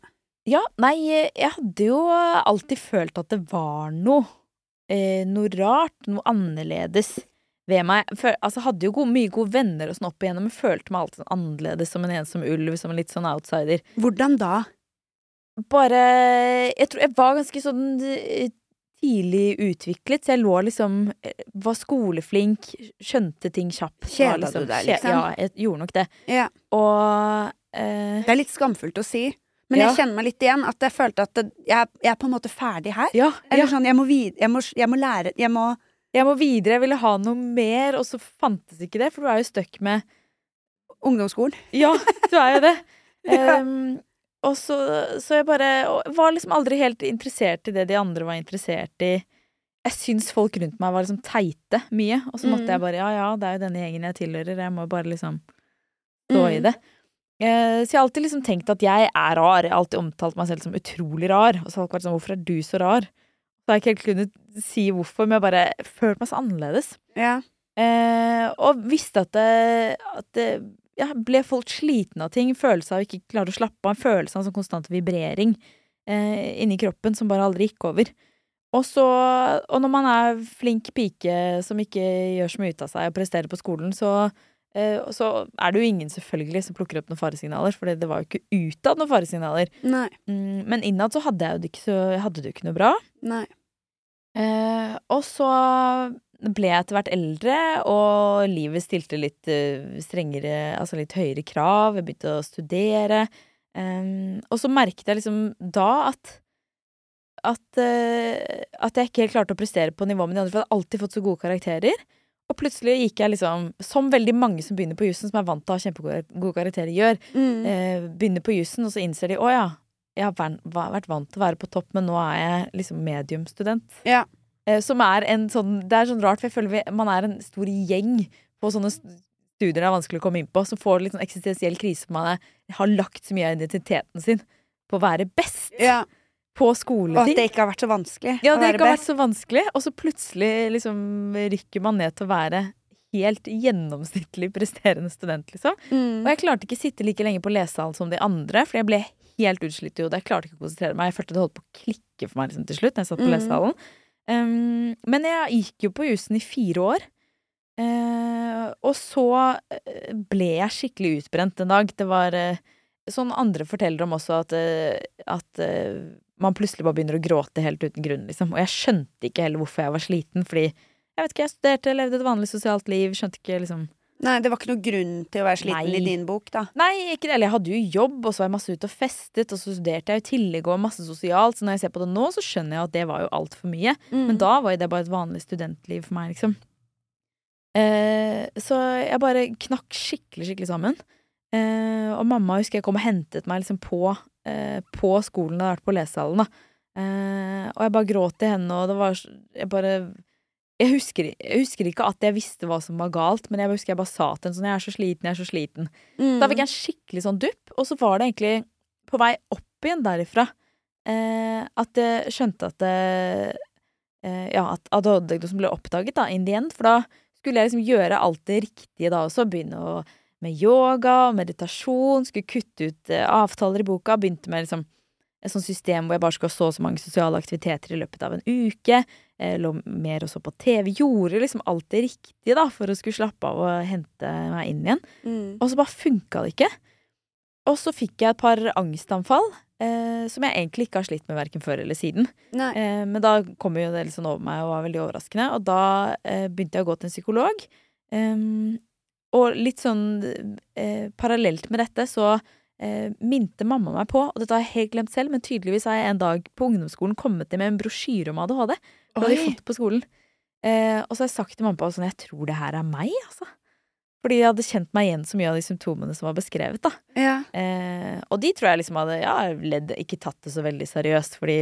Speaker 1: Ja, nei, jeg hadde jo alltid følt at det var noe eh, Noe rart, noe annerledes ved meg. Fø- altså, hadde jo gode, mye gode venner og sånn opp igjennom, men følte meg alltid sånn annerledes, som en ensom ulv, som en litt sånn outsider.
Speaker 2: Hvordan da?
Speaker 1: Bare Jeg tror jeg var ganske sånn eh, tidlig utviklet, så jeg lå liksom eh, Var skoleflink, skjønte ting kjapt. var
Speaker 2: Kjeda du deg,
Speaker 1: kje-
Speaker 2: liksom?
Speaker 1: Ja, jeg gjorde nok det.
Speaker 2: Ja.
Speaker 1: Og eh,
Speaker 2: Det er litt skamfullt å si, men
Speaker 1: Ja.
Speaker 2: jeg kjenner meg litt igjen. At jeg følte at det, jeg, er- jeg er på en måte ferdig her.
Speaker 1: ja,
Speaker 2: Eller sånn, jeg må, vid, jeg, må, jeg må lære Jeg må
Speaker 1: jeg må videre, jeg ville ha noe mer, og så fantes ikke det, for du er jo stuck med
Speaker 2: Ungdomsskolen.
Speaker 1: Ja, du er jo det.
Speaker 2: Ja.
Speaker 1: Ehm, og så, så jeg bare og var liksom aldri helt interessert i det de andre var interessert i. Jeg syns folk rundt meg var liksom teite mye, og så måtte
Speaker 2: Mm.
Speaker 1: jeg bare ja ja, det er jo denne gjengen jeg tilhører, jeg må bare liksom stå i
Speaker 2: Mm.
Speaker 1: det. Eh, så jeg har alltid liksom tenkt at jeg er rar. Jeg har alltid omtalt meg selv som utrolig rar. Og så har folk vært sånn, hvorfor er du så rar? Så har jeg ikke helt kunnet si hvorfor, men jeg har bare følt meg så annerledes.
Speaker 2: Ja.
Speaker 1: Eh, og visste at det, at det ja, ble folk slitne av ting. Følelse av ikke klare å slappe av. Følelse av sånn konstant vibrering eh, inni kroppen som bare aldri gikk over. Og, så, og når man er flink pike som ikke gjør så mye ut av seg og presterer på skolen, så, eh, så er det jo ingen selvfølgelig som plukker opp noen faresignaler, for det var jo ikke utad noen faresignaler.
Speaker 2: Nei.
Speaker 1: Mm, men innad så hadde jeg jo det ikke, så, jeg hadde det jo ikke noe bra.
Speaker 2: Nei.
Speaker 1: Eh, og så ble jeg etter hvert eldre, og livet stilte litt eh, strengere, altså litt høyere krav. Jeg begynte å studere. Um, og så merket jeg liksom da at at, eh, at jeg ikke helt klarte å prestere på nivå med de andre, for jeg hadde alltid fått så gode karakterer. Og plutselig gikk jeg liksom, som veldig mange som begynner på jussen, som er vant til å ha kjempegode gode karakterer, gjør,
Speaker 2: Mm.
Speaker 1: eh, begynner på jussen, og så innser de å ja, jeg har vært, vært vant til å være på topp, men nå er jeg liksom mediumstudent.
Speaker 2: Ja.
Speaker 1: Eh, som er en sånn Det er sånn rart, for jeg føler vi, man er en stor gjeng på sånne st- studier det er vanskelig å komme inn på, som får litt sånn eksistensiell krise på man er, har lagt så mye av identiteten sin på å være best
Speaker 2: ja.
Speaker 1: på
Speaker 2: Og at
Speaker 1: skoleting.
Speaker 2: det ikke har vært så vanskelig
Speaker 1: Ja,
Speaker 2: å
Speaker 1: det
Speaker 2: være
Speaker 1: ikke har vært
Speaker 2: best.
Speaker 1: så vanskelig, og så plutselig liksom rykker man ned til å være helt gjennomsnittlig presterende student, liksom. Og
Speaker 2: Mm.
Speaker 1: jeg klarte ikke sitte like lenge på lesesalen som de andre, for jeg ble helt utslitt i hodet. Jeg klarte ikke å konsentrere meg. Jeg følte det holdt på å klikke for meg liksom, til slutt. når jeg satt på
Speaker 2: Mhm.
Speaker 1: lesesalen. Um, men jeg gikk jo på jussen i fire år. Eh, og så eh, ble jeg skikkelig utbrent en dag. Det var eh, sånn andre forteller om også, at, eh, at eh, man plutselig bare begynner å gråte helt uten grunn, liksom. Og jeg skjønte ikke heller hvorfor jeg var sliten, fordi jeg vet ikke, jeg studerte, levde et vanlig sosialt liv, skjønte ikke liksom
Speaker 2: Nei, det var ikke noe grunn til å være sliten
Speaker 1: Nei.
Speaker 2: i din bok, da.
Speaker 1: Nei, ikke det. Eller jeg hadde jo jobb, og så var jeg masse ute og festet, og så studerte jeg i tillegg og masse sosialt, så når jeg ser på det nå, så skjønner jeg at det var jo altfor mye.
Speaker 2: Mm.
Speaker 1: Men da var jo det bare et vanlig studentliv for meg, liksom. Eh, så jeg bare knakk skikkelig, skikkelig sammen. Eh, og mamma husker jeg kom og hentet meg liksom på, eh, på skolen, jeg hadde vært på lesesalen, da. Eh, og jeg bare gråt til henne, og det var så- Jeg bare jeg husker, jeg husker ikke at jeg visste hva som var galt, men jeg husker jeg bare sa til henne sånn Jeg er så sliten, jeg er så sliten.
Speaker 2: Mm.
Speaker 1: Da fikk jeg en skikkelig sånn dupp, og så var det egentlig på vei opp igjen derifra eh, at jeg skjønte at eh, eh, Ja, at ADHD-diagnosen ble oppdaget da, in the end, for da skulle jeg liksom gjøre alt det riktige da også. Begynne å, med yoga og meditasjon, skulle kutte ut eh, avtaler i boka, begynte med liksom et sånt system hvor jeg bare skulle ha så og så mange sosiale aktiviteter i løpet av en uke. eh, Lå mer og så på TV. Gjorde liksom alt det riktige da, for å skulle slappe av og hente meg inn igjen.
Speaker 2: Mm.
Speaker 1: Og så bare funka det ikke. Og så fikk jeg et par angstanfall, eh, som jeg egentlig ikke har slitt med verken før eller siden.
Speaker 2: Nei.
Speaker 1: Eh, men da kom jo det litt sånn over meg og var veldig overraskende. Og da eh, begynte jeg å gå til en psykolog. Ehm, og litt sånn eh, parallelt med dette så eh, minte mamma meg på, og dette har jeg helt glemt selv, men tydeligvis har jeg en dag på ungdomsskolen kommet til med en brosjyre om ADHD. Det hadde vi
Speaker 2: Oi.
Speaker 1: fått på skolen. Eh, og så har jeg sagt til mamma og pappa sånn, jeg tror det her er meg, altså. Fordi jeg hadde kjent meg igjen så mye av de symptomene som var beskrevet, da.
Speaker 2: Ja.
Speaker 1: Eh, og de tror jeg liksom hadde ja, ledd, ikke tatt det så veldig seriøst, fordi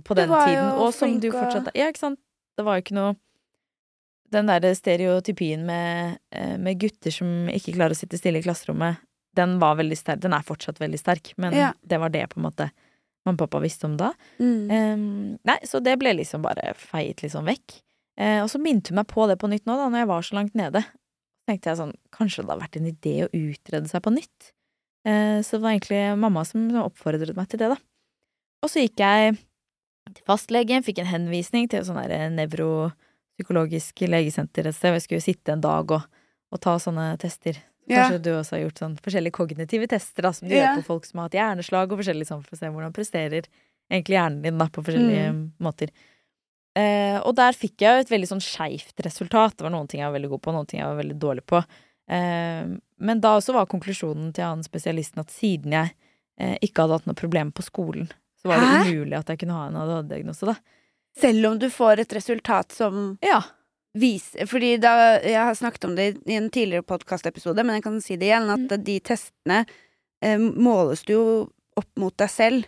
Speaker 1: på
Speaker 2: Du
Speaker 1: den
Speaker 2: var
Speaker 1: tiden,
Speaker 2: jo
Speaker 1: og som
Speaker 2: flink
Speaker 1: du
Speaker 2: og-
Speaker 1: fortsatt er Ja, ikke sant? Det var jo ikke noe Den derre stereotypien med, eh, med gutter som ikke klarer å sitte stille i klasserommet, den var veldig sterk. Den er fortsatt veldig sterk, men
Speaker 2: Ja.
Speaker 1: det var det på en måte mamma og pappa visste om da.
Speaker 2: Eh. Mm.
Speaker 1: Ehm, nei, så det ble liksom bare feiet liksom vekk. Eh, og så minte hun meg på det på nytt nå, da når jeg var så langt nede. Så tenkte jeg sånn, kanskje det hadde vært en idé å utrede seg på nytt. Eh, så det var egentlig mamma som som oppfordret meg til det, da. Og så gikk jeg til fastlegen, fikk en henvisning til et sånn der nevropsykologisk legesenter et sted, hvor jeg skulle sitte en dag og, og ta sånne tester.
Speaker 2: Ja.
Speaker 1: Kanskje du også har gjort sånn forskjellige kognitive tester da, som du
Speaker 2: Ja.
Speaker 1: gjør på folk som har hatt hjerneslag, og forskjellig sånn for å se hvordan presterer egentlig hjernen din da, på forskjellige
Speaker 2: Mm.
Speaker 1: måter. Eh, og der fikk jeg jo et veldig sånn skeivt resultat. Det var noen ting jeg var veldig god på, noen ting jeg var veldig dårlig på. Eh, men da også var konklusjonen til han spesialisten at siden jeg eh, ikke hadde hatt noe problem på skolen, så var det
Speaker 2: Hæ?
Speaker 1: umulig at jeg kunne ha en ADHD-diagnose, da.
Speaker 2: Selv om du får et resultat som
Speaker 1: Ja.
Speaker 2: viser Fordi da, jeg har snakket om det i en tidligere podkastepisode, men jeg kan si det igjen, at
Speaker 1: Mm.
Speaker 2: de testene eh, måles du jo opp mot deg selv.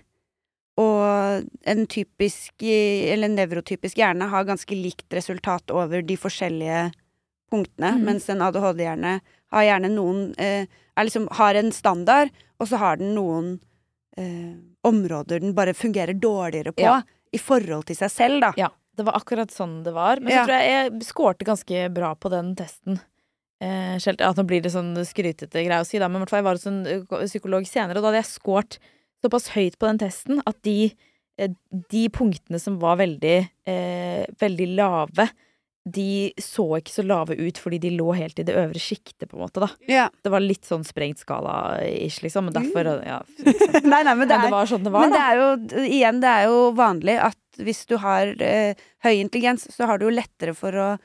Speaker 2: Og en typisk, eh, eller en nevrotypisk hjerne har ganske likt resultat over de forskjellige punktene,
Speaker 1: Mhm.
Speaker 2: mens en ADHD-hjerne har gjerne noen eh, er liksom, Har en standard, og så har den noen eh, områder den bare fungerer dårligere på
Speaker 1: Ja.
Speaker 2: i forhold til seg selv, da.
Speaker 1: Ja, det var akkurat sånn det var. Men
Speaker 2: Ja.
Speaker 1: så tror jeg jeg skårte ganske bra på den testen. Eh, selv, ja, nå blir det sånn skrytete greie å si, da, men i hvert fall jeg var hos en ø- psykolog senere, og da hadde jeg skårt såpass høyt på den testen at de, eh, de punktene som var veldig, eh, veldig lave, de så ikke så lave ut fordi de lå helt i det øvre sjiktet, på en måte, da.
Speaker 2: Ja.
Speaker 1: Det var litt sånn sprengt skala-ish, liksom, og derfor ja,
Speaker 2: nei, nei, men Mm. det
Speaker 1: Men
Speaker 2: er
Speaker 1: det var sånn det var,
Speaker 2: Men det
Speaker 1: da.
Speaker 2: er jo, igjen, det er jo vanlig at hvis du har eh, høy intelligens, så har du jo lettere for å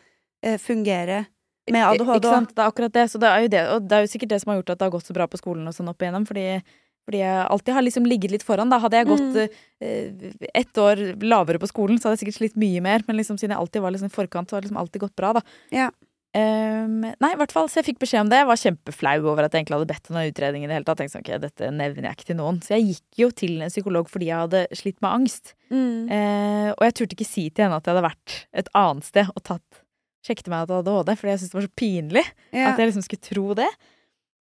Speaker 2: eh, fungere med ADHD.
Speaker 1: Ikke sant? Det er akkurat det. Så det er jo det, og det er jo sikkert det som har gjort at det har gått så bra på skolen og sånn opp igjennom, fordi Fordi jeg alltid har liksom ligget litt foran. Da hadde jeg gått
Speaker 2: Mm.
Speaker 1: eh, ett år lavere på skolen, så hadde jeg sikkert slitt mye mer. Men liksom, siden jeg alltid var liksom i forkant, så har det liksom alltid gått bra, da.
Speaker 2: Ja.
Speaker 1: Ehm, nei, i hvert fall, så jeg fikk beskjed om det. Jeg var kjempeflau over at jeg egentlig hadde bedt om en utredning i det hele tatt. Tenkte sånn, ok, dette nevner jeg ikke til noen. Så jeg gikk jo til en psykolog fordi jeg hadde slitt med angst.
Speaker 2: Mm,
Speaker 1: Eh, og jeg turte ikke si til henne at jeg hadde vært et annet sted og tatt sjekket meg at jeg hadde ADHD, fordi jeg syntes det var så pinlig.
Speaker 2: Ja.
Speaker 1: At jeg liksom skulle tro det.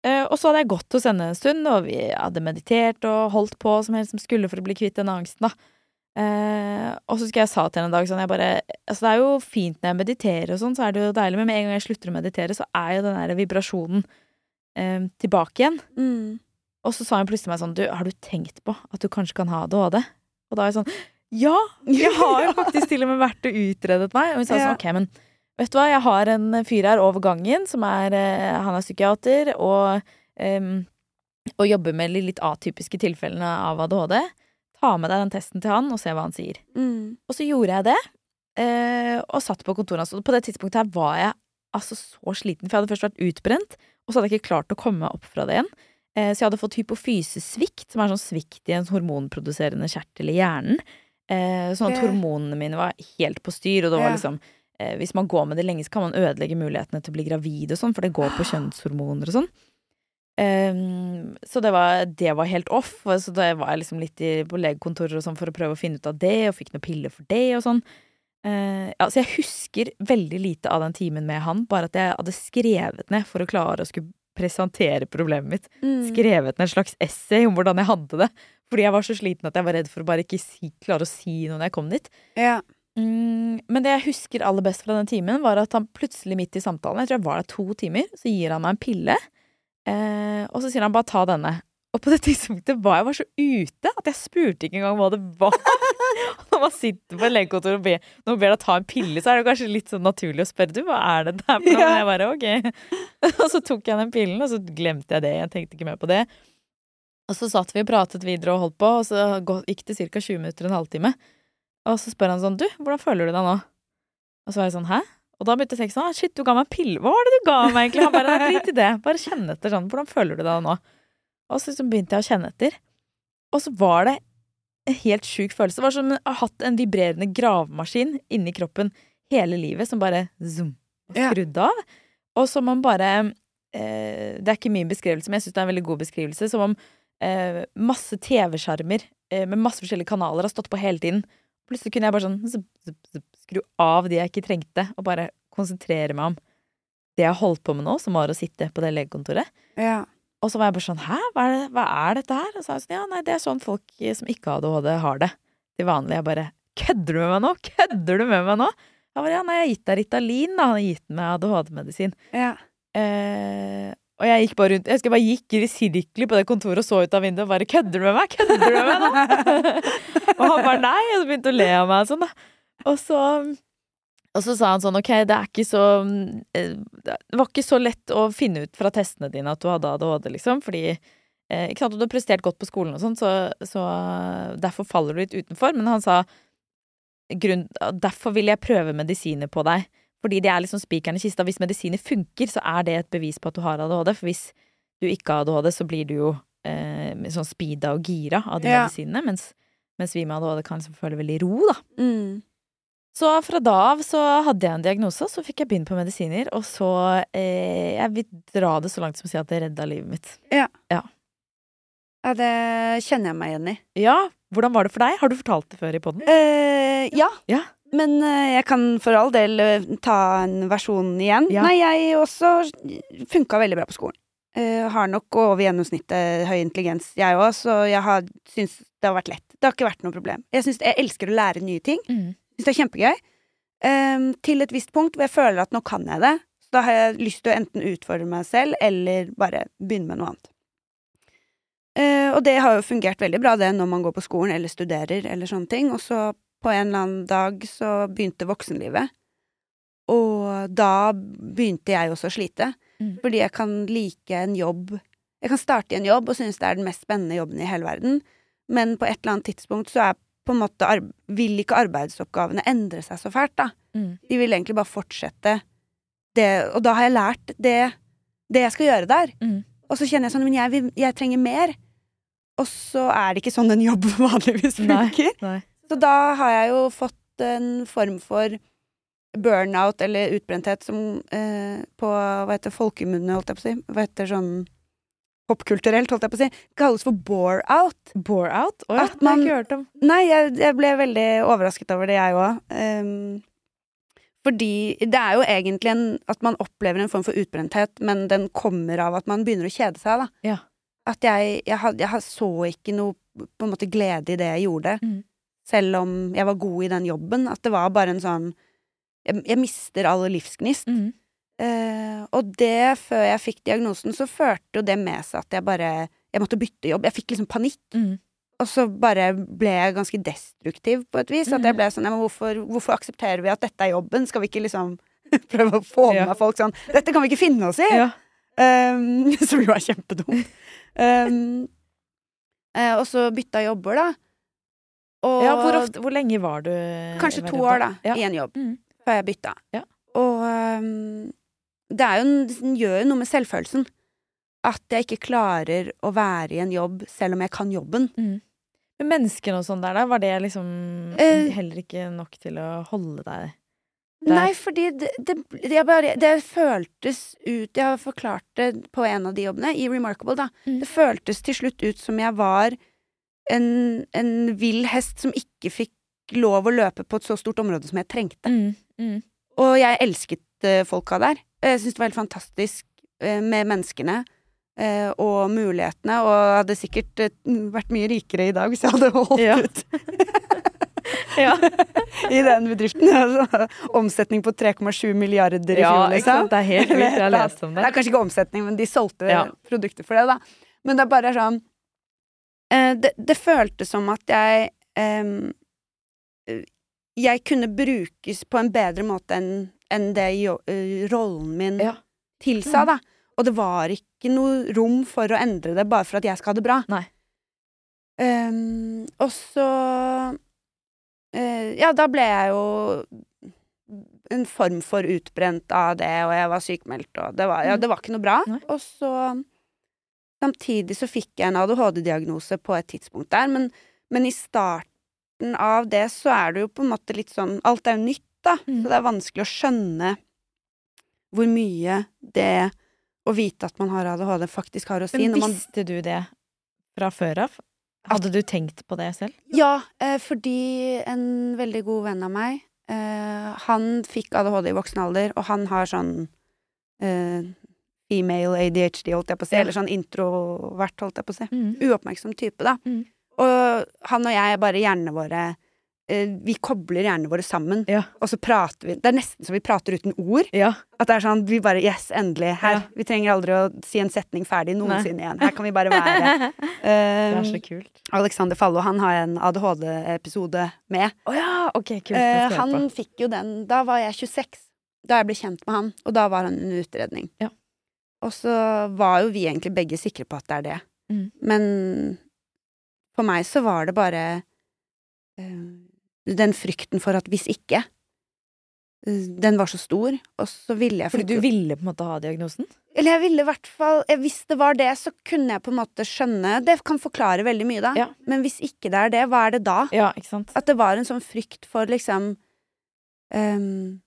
Speaker 1: Eh, og så hadde jeg gått hos henne en stund, og vi hadde meditert og holdt på som helst som skulle for å bli kvitt denne angsten, da. Eh, og så husker jeg jeg sa til henne en dag sånn jeg bare, altså Det er jo fint når jeg mediterer, og sånn, så er det jo deilig, men med en gang jeg slutter å meditere, så er jo den der vibrasjonen eh, tilbake igjen.
Speaker 2: mm.
Speaker 1: Og så sa hun plutselig til meg sånn Du, har du tenkt på at du kanskje kan ha ADHD? Og da er jeg sånn Ja! Jeg har jo faktisk til og med vært og utredet meg. Og hun sa
Speaker 2: Ja.
Speaker 1: sånn Ok, men vet du hva, jeg har en fyr her over gangen som er eh, Han er psykiater og em, Og jobber med de litt atypiske tilfellene av ADHD. Ta med deg den testen til han og se hva han sier.
Speaker 2: mm,
Speaker 1: Og så gjorde jeg det, eh, og satt på kontoret hans. Og på det tidspunktet her var jeg altså så sliten, for jeg hadde først vært utbrent, og så hadde jeg ikke klart å komme meg opp fra det igjen. Eh, så jeg hadde fått hypofysesvikt, som er sånn svikt i en hormonproduserende kjertel i hjernen. Eh, sånn at
Speaker 2: Ja.
Speaker 1: hormonene mine var helt på styr, og det var
Speaker 2: Ja.
Speaker 1: liksom eh, Hvis man går med det lenge, så kan man ødelegge mulighetene til å bli gravid og sånn, for det går på kjønnshormoner og sånn. Ehm, så det var, det var helt off. og Så da var jeg liksom litt i, på legekontorer og sånn for å prøve å finne ut av det, og fikk noen piller for det og sånn. Eh, ja, så jeg husker veldig lite av den timen med han, bare at jeg hadde skrevet ned for å klare å skulle presentere problemet mitt.
Speaker 2: mm.
Speaker 1: Skrevet ned en slags essay om hvordan jeg hadde det. Fordi jeg var så sliten at jeg var redd for å bare ikke si, klare å si noe når jeg kom dit.
Speaker 2: Ja.
Speaker 1: Mm, men det jeg husker aller best fra den timen, var at han plutselig midt i samtalen, jeg tror jeg var der to timer, så gir han meg en pille. Eh, og så sier han bare ta denne. Og på det tidspunktet var jeg var så ute at jeg spurte ikke engang hva det var. Og Når man sitter på et legekontor og ber, når man ber deg ta en pille, så er det kanskje litt sånn naturlig å spørre du, hva er det der for noe? Men jeg bare ok. Og så tok jeg den pillen, og så glemte jeg det. Jeg tenkte ikke mer på det. Og så satt vi og pratet videre og holdt på, og så gå- gikk det ca. 20 minutter, en halvtime. Og så spør han sånn, du, hvordan føler du deg nå? Og så var jeg sånn, hæ? Og da begynte jeg å tenke sånn, «Ah, shit, du ga meg en pille, hva var det du ga meg egentlig? Han bare, «Nei, drit i det, bare kjenn etter sånn, hvordan føler du deg nå? Og så liksom begynte jeg å kjenne etter. Og så var det en helt sjuk følelse. Det var som om jeg har hatt en vibrerende gravemaskin inni kroppen hele livet, som bare zoom,
Speaker 2: Ja.
Speaker 1: skrudde av. Og som om bare, eh, det er ikke min beskrivelse, men jeg synes det er en veldig god beskrivelse, som om eh, masse TV-skjermer eh, med masse forskjellige kanaler har stått på hele tiden. Plutselig kunne jeg bare sånn zup, zup, zup, skru av de jeg ikke trengte, og bare konsentrere meg om det jeg holdt på med nå, som var å sitte på det legekontoret.
Speaker 2: Ja.
Speaker 1: Og så var jeg bare sånn hæ, hva er, det, hva er dette her? Og så er jeg sånn ja, nei, det er sånn folk som ikke har ADHD, har det. Til vanlig. Jeg bare kødder du med meg nå? Kødder du med meg nå? Jeg bare ja, nei, jeg har gitt deg Ritalin, da. Han har gitt meg ADHD-medisin.
Speaker 2: Ja.
Speaker 1: Eh, og jeg gikk bare rundt Jeg husker jeg bare gikk i sirkler på det kontoret og så ut av vinduet og bare 'Kødder du med meg? Kødder du med meg nå?' og han bare 'Nei', og så begynte å le av meg og sånn, da. Og så, og så sa han sånn 'Ok, det er ikke så eh, Det var ikke så lett å finne ut fra testene dine at du hadde ADHD, liksom, fordi eh, ikke sant, og Du har prestert godt på skolen, og sånn, så, så derfor faller du litt utenfor. Men han sa grunn, derfor vil jeg prøve medisiner på deg. Fordi det er liksom spikeren i kista. Hvis medisiner funker, så er det et bevis på at du har ADHD. For hvis du ikke har ADHD, så blir du jo eh, sånn speeda og gira av de
Speaker 2: Ja.
Speaker 1: medisinene. Mens, mens vi med ADHD kan liksom føle veldig ro, da. Så fra da av så hadde jeg en diagnose, så fikk jeg begynne på medisiner. Og så eh, Jeg vil dra det så langt som å si at det redda livet mitt.
Speaker 2: Ja, det kjenner jeg meg igjen i.
Speaker 1: Ja, hvordan var det for deg? Har du fortalt det før i poden?
Speaker 2: Eh, ja.
Speaker 1: Ja.
Speaker 2: Men eh, jeg kan for all del eh, ta en versjon igjen.
Speaker 1: Ja.
Speaker 2: Nei, jeg også funka veldig bra på skolen. Eh, har nok over gjennomsnittet høy intelligens, jeg òg, så jeg har syns det har vært lett. Det har ikke vært noe problem. Jeg, synes, jeg elsker å lære nye ting.
Speaker 1: Mm.
Speaker 2: Syns det er kjempegøy. Ehm, til et visst punkt hvor jeg føler at nå kan jeg det. Så da har jeg lyst til å enten utfordre meg selv eller bare begynne med noe annet. Eh, og det har jo fungert veldig bra, det, når man går på skolen eller studerer eller sånne ting. Og så på en eller annen dag så begynte voksenlivet. Og da begynte jeg også å slite.
Speaker 1: Mm.
Speaker 2: Fordi jeg kan like en jobb Jeg kan starte i en jobb og synes det er den mest spennende jobben i hele verden, men på et eller annet tidspunkt så er på en måte arb vil ikke arbeidsoppgavene endre seg så fælt, da.
Speaker 1: Mm.
Speaker 2: De vil egentlig bare fortsette det, og da har jeg lært det, det jeg skal gjøre der.
Speaker 1: Mm.
Speaker 2: Og så kjenner jeg sånn, men jeg, vil, jeg trenger mer. Og så er det ikke sånn en jobb vanligvis
Speaker 1: Nei.
Speaker 2: funker.
Speaker 1: Nei.
Speaker 2: Så da har jeg jo fått en form for burnout eller utbrenthet som eh, på hva heter det, folkemunne, holdt jeg på å si. Hva heter sånn popkulturelt, holdt jeg på å si. Kalles for bore-out.
Speaker 1: Bore out? Å ja,
Speaker 2: At
Speaker 1: det har
Speaker 2: man-
Speaker 1: jeg ikke hørt om.
Speaker 2: Nei, jeg, jeg ble veldig overrasket over det, jeg òg. Ehm, fordi det er jo egentlig en, at man opplever en form for utbrenthet, men den kommer av at man begynner å kjede seg, da.
Speaker 1: Ja.
Speaker 2: At jeg, jeg, had, jeg had- så ikke noe på en måte glede i det jeg gjorde,
Speaker 1: Mm.
Speaker 2: selv om jeg var god i den jobben. At det var bare en sånn Jeg, jeg mister all livsgnist.
Speaker 1: Mm.
Speaker 2: Eh, og det, før jeg fikk diagnosen, så førte jo det med seg at jeg bare Jeg måtte bytte jobb. Jeg fikk liksom panikk.
Speaker 1: Mm.
Speaker 2: Og så bare ble jeg ganske destruktiv på et vis.
Speaker 1: Mhm.
Speaker 2: At jeg ble sånn, ja, men hvorfor, hvorfor aksepterer vi at dette er jobben? Skal vi ikke liksom prøve å få med
Speaker 1: Ja.
Speaker 2: folk sånn Dette kan vi ikke finne oss i!
Speaker 1: Ja.
Speaker 2: Um, som jo er kjempedumt. Um, eh, og så bytta jeg jobber, da. Og
Speaker 1: ja, hvor, ofte, hvor lenge var du
Speaker 2: kanskje
Speaker 1: var
Speaker 2: to
Speaker 1: du
Speaker 2: år, da,
Speaker 1: der? Ja.
Speaker 2: i en jobb.
Speaker 1: Mm.
Speaker 2: Før jeg bytta.
Speaker 1: Ja.
Speaker 2: Og um, det er jo en, det gjør jo noe med selvfølelsen. At jeg ikke klarer å være i en jobb selv om jeg kan jobben.
Speaker 1: Mm. Men menneskene og sånn der, da, var det liksom
Speaker 2: Eh.
Speaker 1: heller ikke nok til å holde deg Der.
Speaker 2: Nei, fordi det, det, jeg bare, det føltes ut Jeg har forklart det på en av de jobbene, i Remarkable, da.
Speaker 1: Mm.
Speaker 2: Det føltes til slutt ut som jeg var en, en vill hest som ikke fikk lov å løpe på et så stort område som jeg trengte.
Speaker 1: Mm. Mm.
Speaker 2: Og jeg elsket eh, folka der. Jeg syntes det var helt fantastisk eh, med menneskene. eh, Og mulighetene, og jeg hadde sikkert eh, vært mye rikere i dag hvis jeg hadde holdt
Speaker 1: Ja.
Speaker 2: ut
Speaker 1: Ja,
Speaker 2: i den bedriften. Altså, omsetning på 3,7 milliarder i
Speaker 1: ja
Speaker 2: fjor,
Speaker 1: ikke
Speaker 2: liksom.
Speaker 1: sant? Det er helt vilt. Jeg har lest om
Speaker 2: Det
Speaker 1: det.
Speaker 2: er kanskje ikke omsetning, men de solgte
Speaker 1: Ja.
Speaker 2: produkter for det, da. Men det er bare sånn eh, det, det føltes som at jeg em, eh, Jeg kunne brukes på en bedre måte enn enn det jo, eh, rollen min
Speaker 1: Ja.
Speaker 2: tilsa, da. Og det var ikke noe rom for å endre det bare for at jeg skal ha det bra.
Speaker 1: Nei.
Speaker 2: Em, og så eh, Ja, da ble jeg jo en form for utbrent av det, og jeg var sykmeldt, og det var, ja,
Speaker 1: Mm.
Speaker 2: det var ikke noe bra.
Speaker 1: Nei.
Speaker 2: Og så Samtidig så fikk jeg en ADHD-diagnose på et tidspunkt der, men, men i starten av det så er det jo på en måte litt sånn Alt er jo nytt, da,
Speaker 1: Mm.
Speaker 2: så det er vanskelig å skjønne hvor mye det å vite at man har ADHD, faktisk har å si.
Speaker 1: Men
Speaker 2: Når man,
Speaker 1: visste du det fra før av? Hadde du tenkt på det selv?
Speaker 2: ja, eh, fordi en veldig god venn av meg, eh, han fikk ADHD i voksen alder, og han har sånn eh, female ADHD, holdt jeg på å si,
Speaker 1: Ja.
Speaker 2: eller sånn introvert, holdt jeg på å si.
Speaker 1: Mm.
Speaker 2: uoppmerksom type, da.
Speaker 1: Mm.
Speaker 2: Og han og jeg er bare hjernene våre eh, Vi kobler hjernene våre sammen,
Speaker 1: Ja.
Speaker 2: og så prater vi Det er nesten så vi prater uten ord.
Speaker 1: Ja.
Speaker 2: At det er sånn Vi bare Yes, endelig. Her.
Speaker 1: Ja.
Speaker 2: Vi trenger aldri å si en setning ferdig noensinne igjen. Her kan vi bare være.
Speaker 1: Det Um,
Speaker 2: Eh,
Speaker 1: er så kult.
Speaker 2: Alexander Fallo, han har en ADHD-episode med.
Speaker 1: Å ja! Ok, kult.
Speaker 2: Eh,
Speaker 1: Jeg skal
Speaker 2: han
Speaker 1: høre på.
Speaker 2: fikk jo den Da var jeg 26, da jeg ble kjent med han, og da var han under utredning.
Speaker 1: Ja.
Speaker 2: Og så var jo vi egentlig begge sikre på at det er det.
Speaker 1: Mm.
Speaker 2: Men for meg så var det bare eh, den frykten for at hvis ikke eh, Den var så stor, og så ville jeg
Speaker 1: Fordi du
Speaker 2: flytte-
Speaker 1: ville på en måte ha diagnosen?
Speaker 2: Eller jeg ville i hvert fall eh, Hvis det var det, så kunne jeg på en måte skjønne Det kan forklare veldig mye, da.
Speaker 1: Ja.
Speaker 2: Men hvis ikke det er det, hva er det da?
Speaker 1: Ja, ikke sant?
Speaker 2: At det var en sånn frykt for liksom ehm,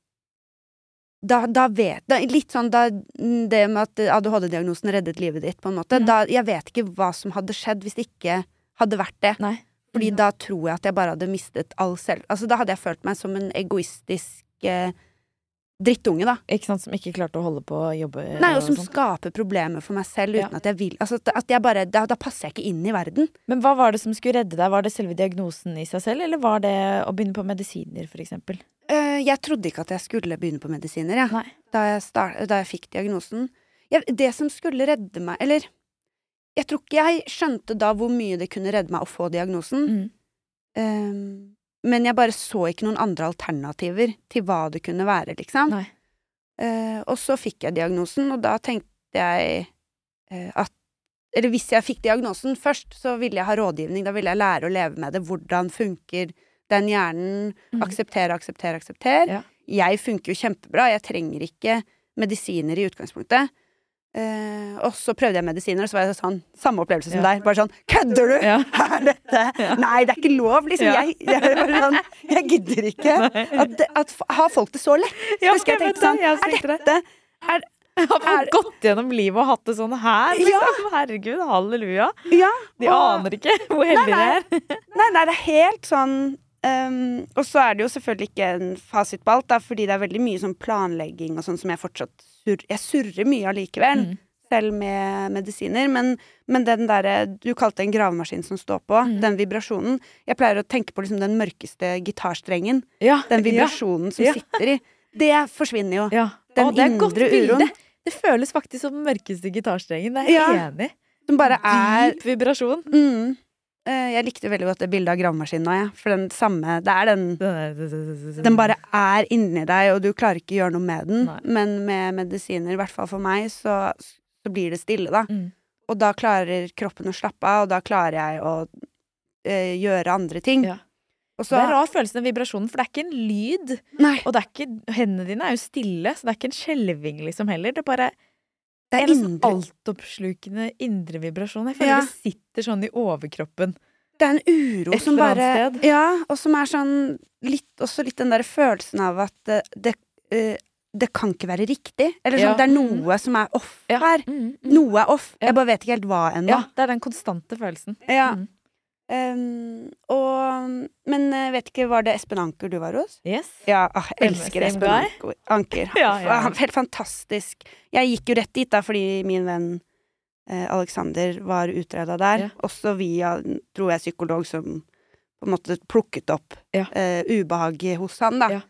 Speaker 2: da, da vet da, Litt sånn da mm, det med at ADHD-diagnosen reddet livet ditt, på en måte.
Speaker 1: Mm.
Speaker 2: Da, jeg vet ikke hva som hadde skjedd hvis det ikke hadde vært det.
Speaker 1: Nei.
Speaker 2: Fordi da tror jeg at jeg bare hadde mistet all selv... Altså, da hadde jeg følt meg som en egoistisk eh, drittunge, da.
Speaker 1: Ikke sant, Som ikke klarte å holde på å jobbe?
Speaker 2: Nei, og som
Speaker 1: sånt.
Speaker 2: skaper problemer for meg selv uten
Speaker 1: Ja.
Speaker 2: at jeg vil Altså, at- at jeg bare da, da passer jeg ikke inn i verden.
Speaker 1: Men hva var det som skulle redde deg? Var det selve diagnosen i seg selv, eller var det å begynne på medisiner, for eksempel?
Speaker 2: Eh, jeg trodde ikke at jeg skulle begynne på medisiner, jeg.
Speaker 1: Nei.
Speaker 2: da jeg, start, da jeg fikk diagnosen. Jeg, det som skulle redde meg Eller jeg tror ikke jeg skjønte da hvor mye det kunne redde meg å få diagnosen.
Speaker 1: Mm.
Speaker 2: Ehm, men jeg bare så ikke noen andre alternativer til hva det kunne være, liksom.
Speaker 1: Nei.
Speaker 2: Eh, og så fikk jeg diagnosen, og da tenkte jeg eh, at Eller hvis jeg fikk diagnosen først, så ville jeg ha rådgivning. Da ville jeg lære å leve med det. Hvordan funker den hjernen?
Speaker 1: Mhm.
Speaker 2: Akseptere, akseptere, akseptere
Speaker 1: Ja.
Speaker 2: jeg funker jo kjempebra, jeg trenger ikke medisiner i utgangspunktet. Eh, og så prøvde jeg medisiner, og så var jeg sånn Samme opplevelse som
Speaker 1: Ja.
Speaker 2: deg. Bare sånn Kødder du?!
Speaker 1: Ja.
Speaker 2: Er dette Nei, det er ikke lov! Liksom.
Speaker 1: Ja.
Speaker 2: Jeg, jeg, er bare sånn, jeg gidder ikke at, det- at f- Har folk det så lett?
Speaker 1: Ja,
Speaker 2: Husker jeg
Speaker 1: jeg
Speaker 2: tenkte sånn
Speaker 1: vet det, jeg
Speaker 2: Er dette er,
Speaker 1: Jeg har fått
Speaker 2: Er det-
Speaker 1: gått gjennom livet og hatt det sånn her.
Speaker 2: Ja.
Speaker 1: Liksom. Herregud, halleluja.
Speaker 2: Ja.
Speaker 1: De
Speaker 2: og-
Speaker 1: aner ikke hvor heldige de
Speaker 2: nei.
Speaker 1: er.
Speaker 2: Nei, nei, det er helt sånn ehm, Og så er det jo selvfølgelig ikke en fasit på alt, da, fordi det er veldig mye sånn planlegging og sånn som jeg fortsatt surr, Jeg surrer mye allikevel,
Speaker 1: Mm.
Speaker 2: selv med medisiner. Men, men den derre du kalte det en gravemaskin som står på,
Speaker 1: Mm.
Speaker 2: den vibrasjonen Jeg pleier å tenke på liksom den mørkeste gitarstrengen.
Speaker 1: Ja.
Speaker 2: Den
Speaker 1: ja.
Speaker 2: vibrasjonen som
Speaker 1: Ja.
Speaker 2: sitter i. Det forsvinner jo.
Speaker 1: ja.
Speaker 2: Den
Speaker 1: Å, det er et godt
Speaker 2: indre uroen.
Speaker 1: bilde. Det føles faktisk som den mørkeste gitarstrengen. Det er jeg
Speaker 2: Ja.
Speaker 1: enig. i.
Speaker 2: Som bare er
Speaker 1: Dyp vibrasjon.
Speaker 2: mm, eh, Jeg likte veldig godt det bildet av gravemaskinen nå, jeg. For den samme Det er den
Speaker 1: Den, er,
Speaker 2: Den bare er inni deg, og du klarer ikke gjøre noe med den.
Speaker 1: Nei.
Speaker 2: Men med medisiner, i hvert fall for meg, så, så blir det stille, da.
Speaker 1: Mm.
Speaker 2: Og da klarer kroppen å slappe av, og da klarer jeg å eh, gjøre andre ting.
Speaker 1: Ja.
Speaker 2: Og
Speaker 1: Det
Speaker 2: så
Speaker 1: er rar følelse, den vibrasjonen, for det er ikke en lyd.
Speaker 2: Nei,
Speaker 1: Og det er ikke, hendene dine er jo stille, så det er ikke en skjelving liksom heller. Det er bare
Speaker 2: det er
Speaker 1: en sånn
Speaker 2: indre
Speaker 1: altoppslukende indre vibrasjon. Jeg føler
Speaker 2: Ja.
Speaker 1: det sitter sånn i overkroppen.
Speaker 2: Det er en uro
Speaker 1: Et
Speaker 2: som
Speaker 1: eller
Speaker 2: bare
Speaker 1: annet sted.
Speaker 2: Ja, og som er sånn litt, Også litt den der følelsen av at det, det, eh, det kan ikke være riktig. Eller
Speaker 1: Ja.
Speaker 2: sånn, det er noe som er off
Speaker 1: Ja.
Speaker 2: her.
Speaker 1: Mm, mm.
Speaker 2: Noe er off.
Speaker 1: Ja.
Speaker 2: Jeg bare vet ikke helt hva ennå.
Speaker 1: Ja, det er den konstante følelsen.
Speaker 2: Ja.
Speaker 1: Mm.
Speaker 2: Um, og, men jeg vet ikke, var det Espen Anker du var hos?
Speaker 1: Yes.
Speaker 2: Ja, ah, jeg
Speaker 1: Same-
Speaker 2: elsker
Speaker 1: same
Speaker 2: Espen
Speaker 1: guy.
Speaker 2: Anker. Anker.
Speaker 1: Ja, ja.
Speaker 2: Han- Helt fantastisk. Jeg gikk jo rett dit da, fordi min venn eh, Alexander var utreda der.
Speaker 1: Ja.
Speaker 2: Også via, tror jeg, psykolog som på en måte plukket opp
Speaker 1: Ja.
Speaker 2: eh, ubehaget hos han, da.
Speaker 1: Ja.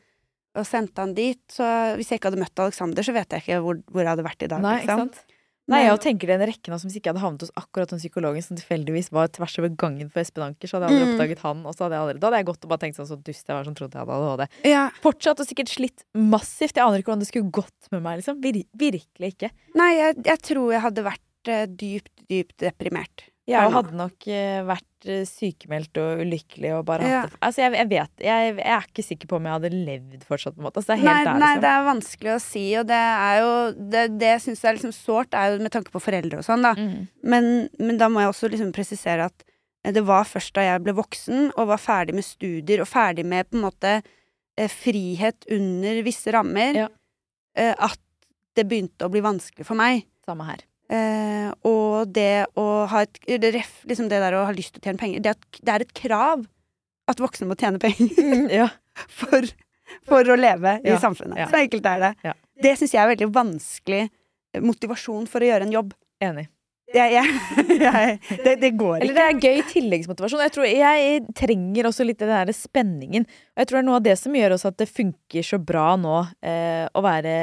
Speaker 2: Og sendte han dit. Så hvis jeg ikke hadde møtt Alexander, så vet jeg ikke hvor, hvor jeg hadde vært i dag.
Speaker 1: Nei, ikke
Speaker 2: liksom.
Speaker 1: sant? Nei,
Speaker 2: Men-
Speaker 1: jeg tenker den rekken av som hvis ikke jeg hadde havnet hos akkurat den psykologen som tilfeldigvis var tvers over gangen for Espen Anker, så hadde jeg aldri
Speaker 2: Mm.
Speaker 1: oppdaget han. Og så hadde jeg aldri, da hadde jeg gått og bare tenkt sånn så dust jeg var som trodde jeg hadde ADHD.
Speaker 2: Ja.
Speaker 1: Fortsatt og sikkert slitt massivt. Jeg aner ikke hvordan det skulle gått med meg. liksom. Vir virkelig ikke.
Speaker 2: Nei, jeg, jeg tror jeg hadde vært eh, dypt, dypt deprimert.
Speaker 1: Jeg
Speaker 2: Per nå.
Speaker 1: hadde nok eh, vært eh, sykemeldt og ulykkelig og bare
Speaker 2: Ja.
Speaker 1: hatt det Altså, jeg, jeg vet jeg, jeg er ikke sikker på om jeg hadde levd fortsatt, på en måte. Altså, det er
Speaker 2: Nei,
Speaker 1: helt der,
Speaker 2: nei,
Speaker 1: liksom.
Speaker 2: det er vanskelig å si, og det er jo Det, det jeg syns er liksom sårt, er jo med tanke på foreldre og sånn, da.
Speaker 1: Mm.
Speaker 2: Men, men da må jeg også liksom presisere at eh, det var først da jeg ble voksen og var ferdig med studier og ferdig med på en måte eh, frihet under visse rammer,
Speaker 1: Ja.
Speaker 2: eh, at det begynte å bli vanskelig for meg.
Speaker 1: Samme her.
Speaker 2: Eh, og det å ha et det ref, Liksom det der å ha lyst til å tjene penger, det, at, det er et krav at voksne må tjene penger
Speaker 1: ja.
Speaker 2: for, for å leve i
Speaker 1: Ja,
Speaker 2: samfunnet.
Speaker 1: ja.
Speaker 2: Så enkelt er det.
Speaker 1: Ja.
Speaker 2: Det syns jeg er veldig vanskelig eh, motivasjon for å gjøre en jobb.
Speaker 1: Enig.
Speaker 2: Jeg, jeg, jeg, det, det går
Speaker 1: Eller
Speaker 2: ikke.
Speaker 1: det er gøy tilleggsmotivasjon. Jeg tror jeg trenger også litt den der spenningen. Og jeg tror det er noe av det som gjør også at det funker så bra nå eh, å være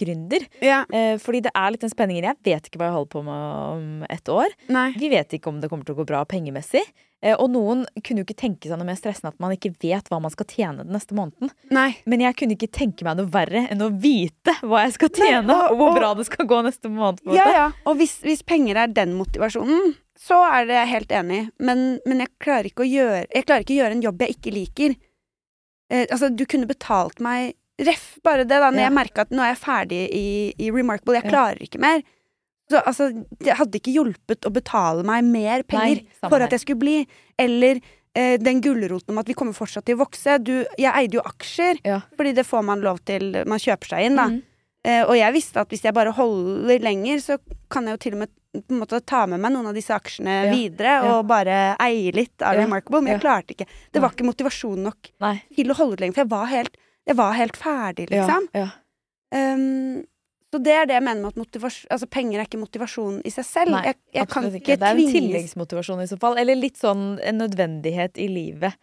Speaker 1: gründer.
Speaker 2: Ja,
Speaker 1: Eh, fordi det er litt den spenningen. Jeg vet ikke hva jeg holder på med om et år.
Speaker 2: nei.
Speaker 1: Vi vet ikke om det kommer til å gå bra pengemessig. Eh, og noen kunne jo ikke tenke seg noe mer stressende at man ikke vet hva man skal tjene den neste måneden.
Speaker 2: nei.
Speaker 1: Men jeg kunne ikke tenke meg noe verre enn å vite hva jeg skal tjene,
Speaker 2: og-
Speaker 1: og, hvor
Speaker 2: og-
Speaker 1: bra det skal gå neste måned. på en
Speaker 2: Ja,
Speaker 1: måte.
Speaker 2: ja. Og hvis, hvis penger er den motivasjonen, så er det jeg helt enig i. Men, men jeg, klarer ikke å gjøre, jeg klarer ikke å gjøre en jobb jeg ikke liker. Eh, altså, du kunne betalt meg ref, bare det, da, når
Speaker 1: Ja.
Speaker 2: jeg merka at nå er jeg ferdig i, i Remarkable. Jeg
Speaker 1: Ja.
Speaker 2: klarer ikke mer. Så altså, det hadde ikke hjulpet å betale meg mer penger
Speaker 1: Nei, samme
Speaker 2: for at
Speaker 1: her.
Speaker 2: jeg skulle bli. Eller eh, den gulroten om at vi kommer fortsatt til å vokse. Du, jeg eide jo aksjer,
Speaker 1: Ja.
Speaker 2: fordi det får man lov til. Man kjøper seg inn, da.
Speaker 1: Mhm.
Speaker 2: Eh, og jeg visste at hvis jeg bare holder lenger, så kan jeg jo til og med på en måte ta med meg noen av disse aksjene
Speaker 1: Ja,
Speaker 2: videre og bare eie litt av
Speaker 1: Ja,
Speaker 2: Remarkable, men jeg klarte ikke. Det
Speaker 1: Nei.
Speaker 2: var ikke motivasjon nok
Speaker 1: Nei.
Speaker 2: til å holde det lenger, for jeg var helt, jeg var helt ferdig,
Speaker 1: Ja,
Speaker 2: liksom.
Speaker 1: ja.
Speaker 2: Um, så det er det jeg mener med at motivas- altså, penger er ikke motivasjon i seg selv.
Speaker 1: Nei,
Speaker 2: jeg jeg kan
Speaker 1: absolutt
Speaker 2: ikke
Speaker 1: Det er en
Speaker 2: tvinges
Speaker 1: tilleggsmotivasjon i så fall. Eller litt sånn en nødvendighet i livet.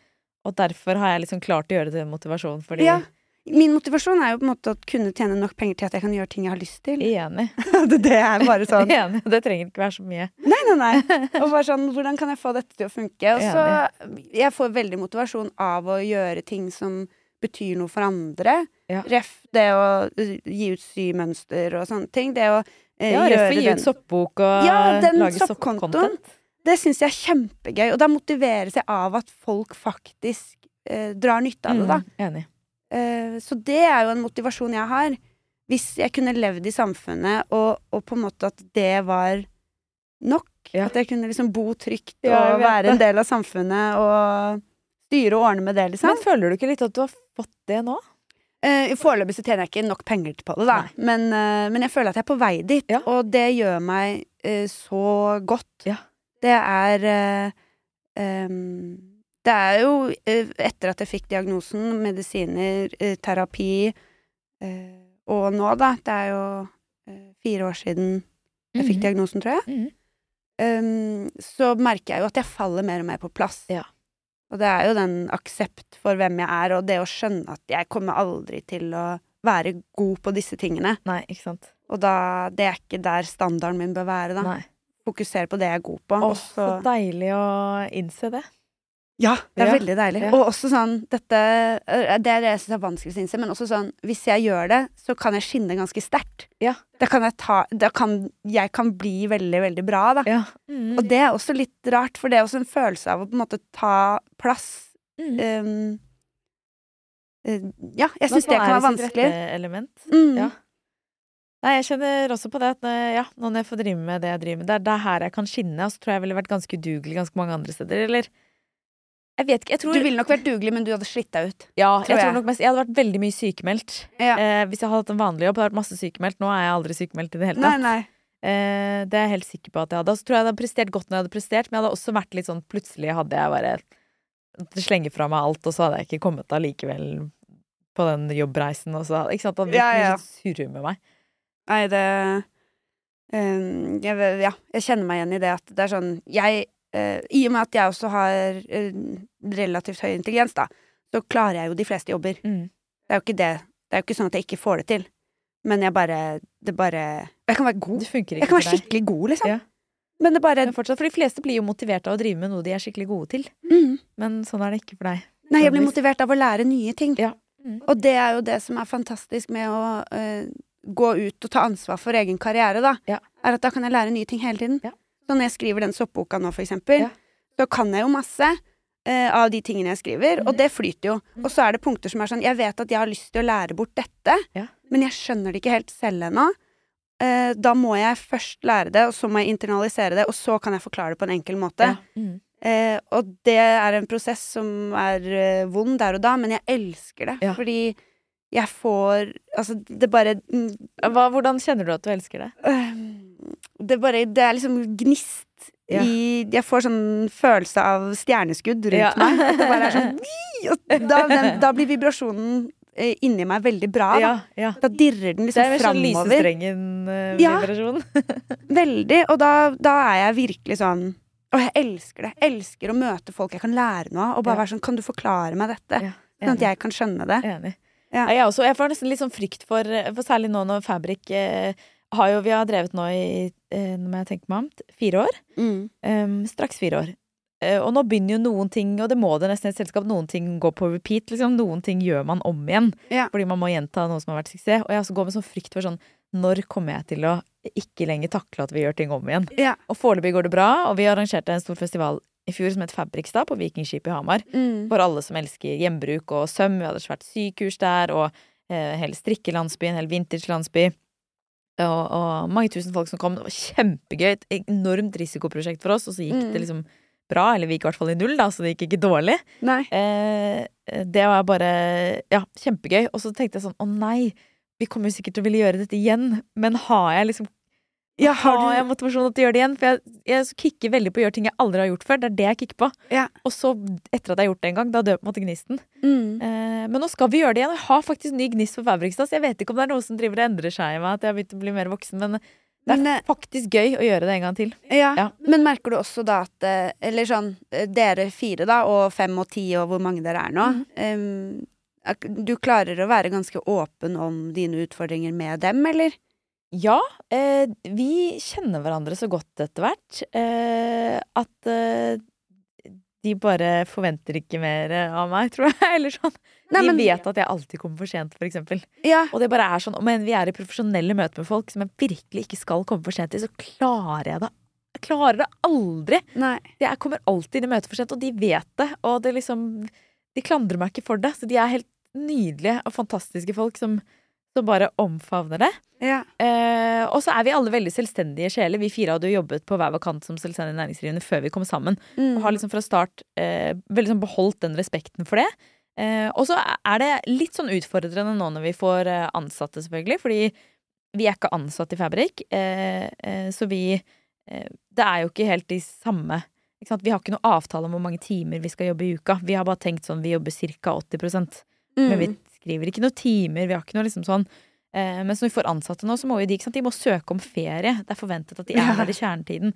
Speaker 1: Og derfor har jeg liksom klart å gjøre det til motivasjon, fordi
Speaker 2: ja. Min motivasjon er jo på en måte å kunne tjene nok penger til at jeg kan gjøre ting jeg har lyst til.
Speaker 1: Enig.
Speaker 2: det det er bare sånn
Speaker 1: Enig. Det trenger ikke være så mye.
Speaker 2: Nei, nei, nei. Og bare sånn, hvordan kan jeg få dette til å funke? Og så, jeg får veldig motivasjon av å gjøre ting som betyr noe for andre.
Speaker 1: Ja.
Speaker 2: Ref det å uh, gi ut symønster og sånne ting. Det å eh,
Speaker 1: Ja,
Speaker 2: gjøre
Speaker 1: rett å gi ut
Speaker 2: den.
Speaker 1: soppbok og
Speaker 2: Ja, den
Speaker 1: lage
Speaker 2: soppkontoen.
Speaker 1: soppcontent.
Speaker 2: Det syns jeg er kjempegøy. Og da motiveres jeg av at folk faktisk eh, drar nytte av det, da.
Speaker 1: Mm, enig.
Speaker 2: Eh, så det er jo en motivasjon jeg har. Hvis jeg kunne levd i samfunnet, og, og på en måte at det var nok.
Speaker 1: Ja.
Speaker 2: At jeg kunne liksom bo trygt
Speaker 1: Ja, jeg
Speaker 2: og
Speaker 1: vet
Speaker 2: være
Speaker 1: det.
Speaker 2: en del av samfunnet og styre og ordne med det, liksom.
Speaker 1: Men føler du ikke litt at du har fått det nå?
Speaker 2: Eh, Foreløpig så tjener jeg ikke nok penger på det, da. Men, eh, men jeg føler at jeg er på vei dit,
Speaker 1: Ja.
Speaker 2: og det gjør meg eh, så godt.
Speaker 1: Ja.
Speaker 2: Det er eh, em, Det er jo eh, etter at jeg fikk diagnosen, medisiner, eh, terapi eh, Og nå, da. Det er jo eh, fire år siden jeg fikk diagnosen, tror jeg.
Speaker 1: Mhm.
Speaker 2: Em, Ehm, så merker jeg jo at jeg faller mer og mer på plass.
Speaker 1: Ja.
Speaker 2: Og det er jo den aksept for hvem jeg er, og det å skjønne at jeg kommer aldri til å være god på disse tingene.
Speaker 1: Nei, ikke sant.
Speaker 2: Og da, det er ikke der standarden min bør være, da.
Speaker 1: Nei.
Speaker 2: Fokusere på det jeg er god på.
Speaker 1: Å,
Speaker 2: og
Speaker 1: så deilig å innse det.
Speaker 2: ja, det er
Speaker 1: Ja.
Speaker 2: veldig deilig.
Speaker 1: Ja.
Speaker 2: Og også sånn dette, øh, Det er det jeg syns er vanskeligst å innse, men også sånn Hvis jeg gjør det, så kan jeg skinne ganske sterkt.
Speaker 1: Ja.
Speaker 2: Da kan jeg ta Da kan jeg kan bli veldig, veldig bra, da.
Speaker 1: Ja. Mm.
Speaker 2: Og det er også litt rart, for det er også en følelse av å på en måte ta plass.
Speaker 1: Mm.
Speaker 2: Um, eh, ja, jeg
Speaker 1: Man
Speaker 2: syns det kan
Speaker 1: være
Speaker 2: være
Speaker 1: sitt
Speaker 2: vanskelig.
Speaker 1: rette Element.
Speaker 2: Mm.
Speaker 1: Ja. Nei, jeg kjenner også på det at eh, ja, nå når jeg får drive med det jeg driver med, det er, det er her jeg kan skinne. Og så tror jeg jeg ville vært ganske udugelig ganske mange andre steder, eller Jeg vet ikke, jeg tror
Speaker 2: Du ville nok vært dugelig, men du hadde slitt deg ut.
Speaker 1: Ja, jeg,
Speaker 2: tror jeg.
Speaker 1: tror nok mest Jeg hadde vært veldig mye sykemeldt.
Speaker 2: Ja.
Speaker 1: Eh, hvis jeg hadde hatt en vanlig jobb, hadde jeg vært masse sykemeldt. Nå er jeg aldri sykemeldt i det hele
Speaker 2: Nei,
Speaker 1: tatt.
Speaker 2: nei.
Speaker 1: Eh, det er jeg helt sikker på at jeg hadde. Og så tror jeg jeg hadde prestert godt når jeg hadde prestert, men jeg hadde også vært litt sånn plutselig hadde jeg bare slenger fra meg alt, og så hadde jeg ikke kommet allikevel på den jobbreisen, og så ikke sant, det hadde
Speaker 2: Ja,
Speaker 1: blitt
Speaker 2: ja.
Speaker 1: mye surre med meg.
Speaker 2: Nei, det um, jeg, vet- Ja, jeg kjenner meg igjen i det at det er sånn Jeg eh, I og med at jeg også har eh, relativt høy intelligens, da, så klarer jeg jo de fleste jobber.
Speaker 1: Mm.
Speaker 2: Det er jo ikke det. Det er jo ikke sånn at jeg ikke får det til. Men jeg bare Det bare Jeg kan være god.
Speaker 1: Det funker
Speaker 2: Jeg
Speaker 1: ikke
Speaker 2: kan være
Speaker 1: for deg.
Speaker 2: skikkelig god, liksom.
Speaker 1: Ja.
Speaker 2: Men det bare
Speaker 1: Men fortsatt, for de fleste blir jo motivert av å drive med noe de er skikkelig gode til,
Speaker 2: mm.
Speaker 1: men sånn er det ikke for deg.
Speaker 2: Nei, jeg blir
Speaker 1: Vanligvis.
Speaker 2: motivert av å lære nye ting.
Speaker 1: Ja. Mm.
Speaker 2: Og det er jo det som er fantastisk med å eh, gå ut og ta ansvar for egen karriere, da.
Speaker 1: Ja.
Speaker 2: Er at da kan jeg lære nye ting hele tiden.
Speaker 1: Ja.
Speaker 2: Så når jeg skriver den soppboka nå, for eksempel,
Speaker 1: Ja.
Speaker 2: så kan jeg jo masse eh, av de tingene jeg skriver,
Speaker 1: Mm.
Speaker 2: og det flyter jo. Og så er det punkter som er sånn Jeg vet at jeg har lyst til å lære bort dette,
Speaker 1: Ja.
Speaker 2: men jeg skjønner det ikke helt selv ennå. Eh, da må jeg først lære det, og så må jeg internalisere det, og så kan jeg forklare det på en enkel måte.
Speaker 1: Ja. Mm.
Speaker 2: Eh, og det er en prosess som er eh, vond der og da, men jeg elsker det.
Speaker 1: Ja.
Speaker 2: Fordi jeg får Altså, det bare mm,
Speaker 1: Hva, hvordan kjenner du at du elsker det?
Speaker 2: øh, Det bare Det er liksom gnist
Speaker 1: Ja.
Speaker 2: i Jeg får sånn følelse av stjerneskudd rundt
Speaker 1: Ja.
Speaker 2: meg. At det bare er sånn «Wii!» og da, den, da blir vibrasjonen eh, inni meg veldig bra. Da.
Speaker 1: ja.
Speaker 2: da dirrer den
Speaker 1: Det er
Speaker 2: liksom
Speaker 1: mer sånn eh,
Speaker 2: framover. Ja.
Speaker 1: lysestrengen-vibrasjon.
Speaker 2: Veldig. Og da, da er jeg virkelig sånn Og jeg elsker det. Elsker å møte folk jeg kan lære noe av. Og bare
Speaker 1: Ja.
Speaker 2: være sånn Kan du forklare meg dette?
Speaker 1: Ja.
Speaker 2: Sånn at jeg kan skjønne det.
Speaker 1: Enig.
Speaker 2: Ja.
Speaker 1: Nei, Jeg, også, jeg får nesten litt sånn frykt for, for særlig nå når Fabrik eh, har jo, Vi har drevet nå i eh, når jeg tenker meg om, t- fire år. Em, Ehm, straks fire år. Eh, og nå begynner jo noen ting, og det må det nesten i et selskap, noen ting går på repeat. Liksom. Noen ting gjør man om igjen.
Speaker 2: Ja.
Speaker 1: Fordi man må gjenta noe som har vært suksess. Og jeg også går med sånn frykt for sånn Når kommer jeg til å ikke lenger takle at vi gjør ting om igjen?
Speaker 2: Ja.
Speaker 1: Og foreløpig går det bra, og vi arrangerte en stor festival i fjor som het Fabrikstad på Vikingskip i Hamar.
Speaker 2: Mm.
Speaker 1: For alle som elsker gjenbruk og søm. Vi hadde et svært sykurs der, og eh, hele strikkelandsby, en hel vintagelandsby. Og, og mange tusen folk som kom. Det var kjempegøy. Et enormt risikoprosjekt for oss, og så gikk
Speaker 2: Mm.
Speaker 1: det liksom bra. Eller vi gikk i hvert fall i null, da, så det gikk ikke dårlig.
Speaker 2: Nei.
Speaker 1: Eh, det var bare ja, kjempegøy. Og så tenkte jeg sånn å nei, vi kommer jo sikkert til å ville gjøre dette igjen, men har jeg liksom
Speaker 2: Ja,
Speaker 1: har
Speaker 2: har du
Speaker 1: jeg motivasjon til å gjøre det igjen? For jeg, jeg kikker veldig på å gjøre ting jeg aldri har gjort før. Det er det jeg kikker på.
Speaker 2: Ja.
Speaker 1: Og så, etter at jeg har gjort det en gang, da dør på en måte gnisten.
Speaker 2: Mm.
Speaker 1: Eh, men nå skal vi gjøre det igjen. og Jeg har faktisk ny gnist for Fabrikstad, så jeg vet ikke om det er noe som driver og endrer seg i meg, at jeg har begynt å bli mer voksen. Men det er
Speaker 2: Men, eh,
Speaker 1: faktisk gøy å gjøre det en gang til.
Speaker 2: ja.
Speaker 1: Ja.
Speaker 2: Men merker du også da at eh, Eller sånn, eh, dere fire, da, og fem og ti, og hvor mange dere er nå
Speaker 1: Mhm.
Speaker 2: em, ak- Du klarer å være ganske åpen om dine utfordringer med dem, eller?
Speaker 1: Ja, eh, vi kjenner hverandre så godt etter hvert eh, at eh, de bare forventer ikke mer eh, av meg, tror jeg. Eller sånn.
Speaker 2: Nei, men-
Speaker 1: de vet at jeg alltid kommer for sent, for eksempel.
Speaker 2: Ja.
Speaker 1: Og det bare er sånn, om enn vi er i profesjonelle møter med folk som jeg virkelig ikke skal komme for sent i, så klarer jeg det. Jeg klarer det aldri.
Speaker 2: Nei.
Speaker 1: Jeg kommer alltid inn i møter for sent, og de vet det. Og det liksom, de klandrer meg ikke for det. Så de er helt nydelige og fantastiske folk som, som bare omfavner det.
Speaker 2: Ja.
Speaker 1: Eh, og så er vi alle veldig selvstendige sjeler. Vi fire hadde jo jobbet på hver vår kant som selvstendig næringsdrivende før vi kom sammen. Og har liksom fra start eh, veldig sånn beholdt den respekten for det. Eh, og så er det litt sånn utfordrende nå når vi får eh, ansatte, selvfølgelig. Fordi vi er ikke ansatt i Fabrik. Eh, eh, så vi eh, Det er jo ikke helt de samme ikke sant? Vi har ikke noe avtale om hvor mange timer vi skal jobbe i uka. Vi har bare tenkt sånn vi jobber ca. 80
Speaker 2: Mm.
Speaker 1: men vi skriver ikke noen timer. Vi har ikke noe liksom sånn eh, Mens når vi får ansatte nå, så må jo de ikke sant? De må søke om ferie. Det er forventet at de er der i kjernetiden.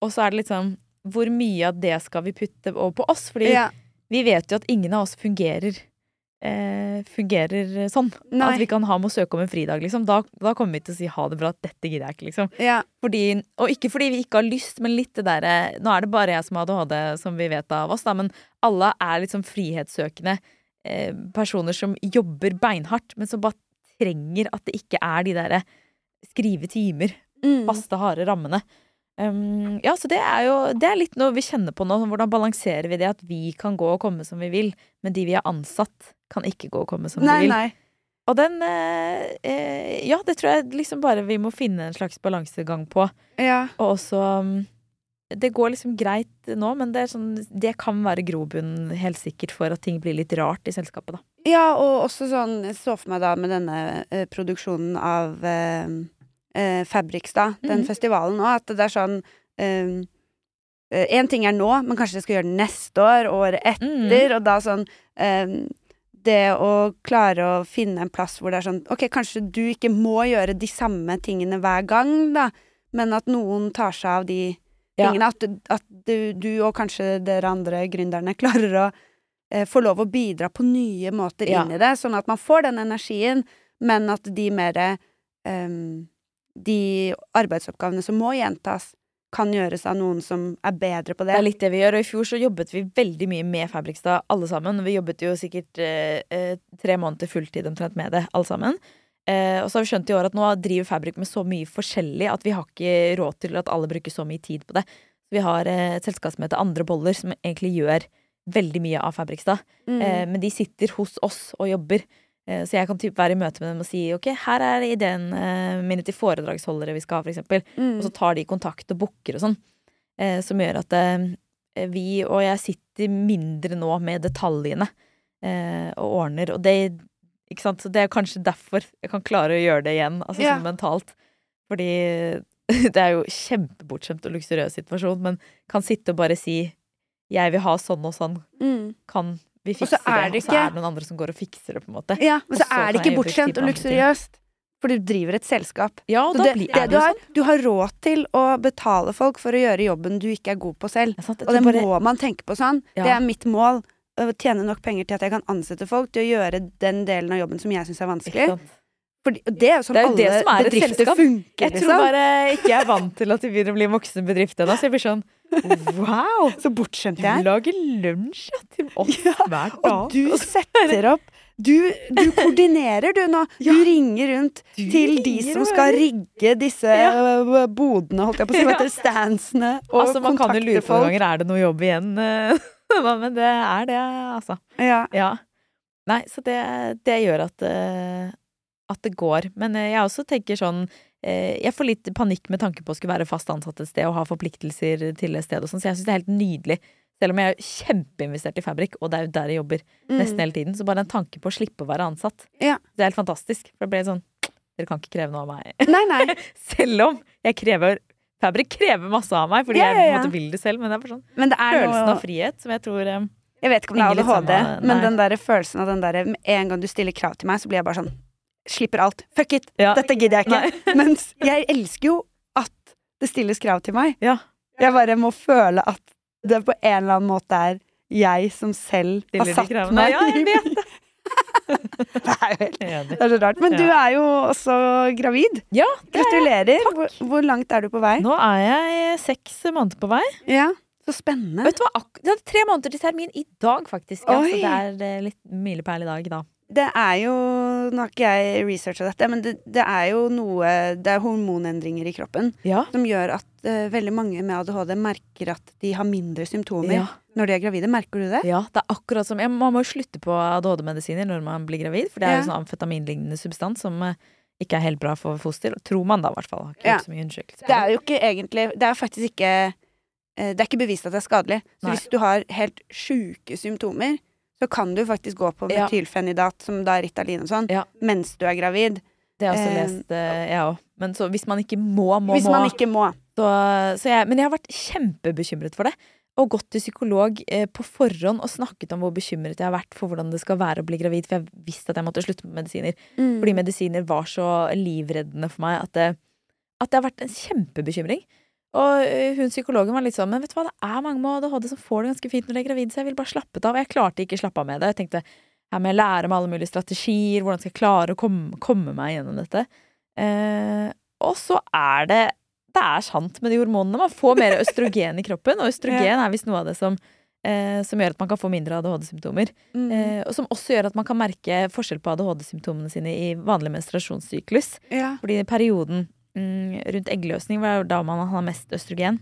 Speaker 1: Og så er det litt sånn Hvor mye av det skal vi putte over på oss? Fordi
Speaker 2: ja.
Speaker 1: vi vet jo at ingen av oss fungerer eh, Fungerer sånn.
Speaker 2: Nei.
Speaker 1: At vi kan ha med å søke om en fridag, liksom. Da, da kommer vi til å si ha det bra, dette gidder jeg ikke, liksom.
Speaker 2: ja.
Speaker 1: Fordi, og ikke fordi vi ikke har lyst, men litt det derre Nå er det bare jeg som har ADHD, som vi vet av oss, da, men alle er liksom frihetssøkende eh, personer som jobber beinhardt, men som bare trenger at det ikke er de derre skrive timer,
Speaker 2: Mm.
Speaker 1: faste, harde rammene. Um, ja, så det er jo det er litt noe vi kjenner på nå. sånn, Hvordan balanserer vi det at vi kan gå og komme som vi vil, men de vi har ansatt, kan ikke gå og komme som de
Speaker 2: Nei,
Speaker 1: vil.
Speaker 2: nei.
Speaker 1: Og den eh, eh, Ja, det tror jeg liksom bare vi må finne en slags balansegang på.
Speaker 2: Ja.
Speaker 1: Og også mm, Det går liksom greit nå, men det, er sånn, det kan være grobunnen helt sikkert for at ting blir litt rart i selskapet, da.
Speaker 2: Ja, og også sånn Jeg så for meg da med denne eh, produksjonen av eh, eh, Fabrics, da, den
Speaker 1: Mhm.
Speaker 2: festivalen òg, at det er sånn Én ting er nå, men kanskje jeg skal gjøre det neste år, året
Speaker 1: Mm.
Speaker 2: etter, og da sånn eh, det å klare å finne en plass hvor det er sånn OK, kanskje du ikke må gjøre de samme tingene hver gang, da, men at noen tar seg av de
Speaker 1: Ja.
Speaker 2: tingene. At, du- at du, du og kanskje dere andre gründerne klarer å eh, få lov å bidra på nye måter
Speaker 1: Ja.
Speaker 2: inn i det, sånn at man får den energien, men at de mer ehm, De arbeidsoppgavene som må gjentas, kan gjøres av noen som er bedre på det.
Speaker 1: Det er litt det vi gjør, og i fjor så jobbet vi veldig mye med Fabrikstad, alle sammen. Vi jobbet jo sikkert eh, eh, tre måneder fulltid omtrent med det, alle sammen. Eh, og så har vi skjønt i år at nå driver Fabrik med så mye forskjellig at vi har ikke råd til at alle bruker så mye tid på det. Vi har eh, et selskap som heter Andre boller, som egentlig gjør veldig mye av Fabrikstad.
Speaker 2: Mm.
Speaker 1: Eh, men de sitter hos oss og jobber. Eh, Så jeg kan typ være i møte med dem og si ok, her er ideene mine til foredragsholdere vi skal ha, for eksempel.
Speaker 2: Mm.
Speaker 1: Og så tar de kontakt og booker og sånn. Eh, Som gjør at eh, vi og jeg sitter mindre nå med detaljene eh, og ordner. Og det, ikke sant? Så det er kanskje derfor jeg kan klare å gjøre det igjen, altså
Speaker 2: Ja.
Speaker 1: sånn mentalt. Fordi eh, det er jo kjempebortskjemt og luksuriøs situasjon, men kan sitte og bare si 'jeg vil ha sånn og sånn'
Speaker 2: mm.
Speaker 1: kan vi
Speaker 2: så
Speaker 1: fikse det,
Speaker 2: er det
Speaker 1: og så
Speaker 2: ikke-
Speaker 1: er det noen andre som går og fikser det, på en måte.
Speaker 2: Ja, men
Speaker 1: Og så
Speaker 2: så er det
Speaker 1: kan jeg
Speaker 2: ikke
Speaker 1: gjøre fleksible
Speaker 2: bortskjemt og
Speaker 1: andre ting.
Speaker 2: luksuriøst. For du driver et selskap.
Speaker 1: Ja, og
Speaker 2: Så
Speaker 1: da
Speaker 2: det,
Speaker 1: blir,
Speaker 2: det
Speaker 1: er
Speaker 2: du,
Speaker 1: det jo
Speaker 2: har,
Speaker 1: sånn.
Speaker 2: du har råd til å betale folk for å gjøre jobben du ikke er god på selv.
Speaker 1: Ja, sant? Jeg
Speaker 2: Og det
Speaker 1: tror bare,
Speaker 2: må man tenke på sånn.
Speaker 1: Ja.
Speaker 2: Det er mitt mål. Å tjene nok penger til at jeg kan ansette folk til å gjøre den delen av jobben som jeg syns er
Speaker 1: ikke
Speaker 2: vanskelig.
Speaker 1: sant?
Speaker 2: Fordi, og det er jo sånn
Speaker 1: Det er jo det
Speaker 2: alle
Speaker 1: som er et
Speaker 2: bedrifter
Speaker 1: selskap.
Speaker 2: funker,
Speaker 1: Jeg tror
Speaker 2: liksom.
Speaker 1: bare ikke jeg er vant til at det begynner å bli en voksen bedrift ennå, så jeg blir sånn wow!
Speaker 2: Så bortskjemt
Speaker 1: Du
Speaker 2: jeg er.
Speaker 1: lager lunsj ja, til oss
Speaker 2: Ja,
Speaker 1: hver
Speaker 2: Og
Speaker 1: dag.
Speaker 2: du setter opp Du, du koordinerer, du, nå. Du ringer rundt
Speaker 1: Du
Speaker 2: til de
Speaker 1: ringer
Speaker 2: som
Speaker 1: og
Speaker 2: skal rigge disse øh, bodene, holdt jeg på å si, hva
Speaker 1: Ja.
Speaker 2: heter det, standsene, og
Speaker 1: altså, man kan jo
Speaker 2: kontakte
Speaker 1: lure på noen
Speaker 2: folk.
Speaker 1: ganger er det noe jobb igjen, men det er det, altså.
Speaker 2: Ja.
Speaker 1: Ja. Nei, så det, det gjør at, eh, at det går. Men eh, jeg også tenker sånn eh, Jeg får litt panikk med tanke på å skulle være fast ansatt et sted og ha forpliktelser til et sted og sånn, så jeg syns det er helt nydelig. Selv om jeg er kjempeinvestert i Fabrik, og det er jo der jeg jobber
Speaker 2: Mm.
Speaker 1: nesten hele tiden, så bare den tanken på å slippe å være ansatt,
Speaker 2: Ja.
Speaker 1: det er helt fantastisk. For det ble sånn Dere kan ikke kreve noe av meg.
Speaker 2: Nei, nei.
Speaker 1: Selv om jeg krever Fabrik krever masse av meg, fordi jeg
Speaker 2: Ja,
Speaker 1: på
Speaker 2: ja,
Speaker 1: en
Speaker 2: ja.
Speaker 1: måte vil det selv, men det er bare sånn
Speaker 2: Men det er
Speaker 1: følelsen
Speaker 2: noe
Speaker 1: av frihet som jeg tror eh,
Speaker 2: Jeg vet ikke om det er
Speaker 1: Henger litt
Speaker 2: ADHD,
Speaker 1: sammen,
Speaker 2: men
Speaker 1: nei.
Speaker 2: den der følelsen av den derre Med en gang du stiller krav til meg, så blir jeg bare sånn Slipper alt. Fuck it!
Speaker 1: Ja.
Speaker 2: Dette gidder jeg
Speaker 1: Nei.
Speaker 2: ikke. Mens jeg elsker jo at det stilles krav til meg.
Speaker 1: Ja.
Speaker 2: Jeg bare må føle at det på en eller annen måte er jeg som selv har
Speaker 1: stiller de
Speaker 2: satt
Speaker 1: kravene.
Speaker 2: meg
Speaker 1: Ja, jeg
Speaker 2: i
Speaker 1: vet det!
Speaker 2: Det er jo helt
Speaker 1: Jeg er enig.
Speaker 2: det er så rart. Men du er jo også gravid.
Speaker 1: Ja, det er,
Speaker 2: Gratulerer. Hvor, hvor langt er du på vei?
Speaker 1: nå er jeg seks måneder på vei.
Speaker 2: Ja, Så spennende.
Speaker 1: Vet du hva, ak Det er tre måneder til termin i dag, faktisk. Ja, så
Speaker 2: Oi.
Speaker 1: det er eh, litt milepæl i dag, da.
Speaker 2: Det er jo nå har ikke jeg researcha dette, men det, det er jo noe Det er hormonendringer i kroppen
Speaker 1: Ja.
Speaker 2: som gjør at eh, veldig mange med ADHD merker at de har mindre symptomer
Speaker 1: Ja.
Speaker 2: når de er gravide. Merker du det?
Speaker 1: Ja, det er akkurat som ja, Man må jo slutte på ADHD-medisiner når man blir gravid, for det er jo
Speaker 2: Ja.
Speaker 1: sånn amfetaminlignende substans som eh, ikke er helt bra for foster. Tror man da, i hvert fall. Har ikke
Speaker 2: Ja.
Speaker 1: gjort så mye undersøkelser.
Speaker 2: Det er jo ikke egentlig Det er faktisk ikke eh, Det er ikke bevist at det er skadelig. Så
Speaker 1: Nei.
Speaker 2: hvis du har helt sjuke symptomer, så kan du faktisk gå på
Speaker 1: Ja.
Speaker 2: metylfenidat, som da er Ritalin og sånn,
Speaker 1: Ja.
Speaker 2: mens du er gravid.
Speaker 1: Det har jeg også
Speaker 2: Eh,
Speaker 1: lest, eh, jeg òg. Men så, hvis man ikke må, må,
Speaker 2: hvis man
Speaker 1: må
Speaker 2: ikke må.
Speaker 1: så, så jeg, Men jeg har vært kjempebekymret for det. Og gått til psykolog eh, på forhånd og snakket om hvor bekymret jeg har vært for hvordan det skal være å bli gravid, for jeg visste at jeg måtte slutte med medisiner.
Speaker 2: Mm.
Speaker 1: Fordi medisiner var så livreddende for meg at det, at det har vært en kjempebekymring. Og eh, hun psykologen var litt sånn Men vet du hva, det er mange med ADHD som får det ganske fint når de er gravide, så jeg vil bare slappe av. Og jeg klarte ikke å slappe av med det. Jeg tenkte her må jeg lære meg alle mulige strategier, hvordan skal jeg klare å komme, komme meg gjennom dette. Eh, og så er det Det er sant med de hormonene. Man får mer østrogen i kroppen, og østrogen er visst noe av det som, eh, som gjør at man kan få mindre ADHD-symptomer.
Speaker 2: Mm.
Speaker 1: Eh, og som også gjør at man kan merke forskjell på ADHD-symptomene sine i vanlig menstruasjonssyklus.
Speaker 2: ja.
Speaker 1: Fordi perioden mm, rundt eggløsning var jo da man har mest østrogen.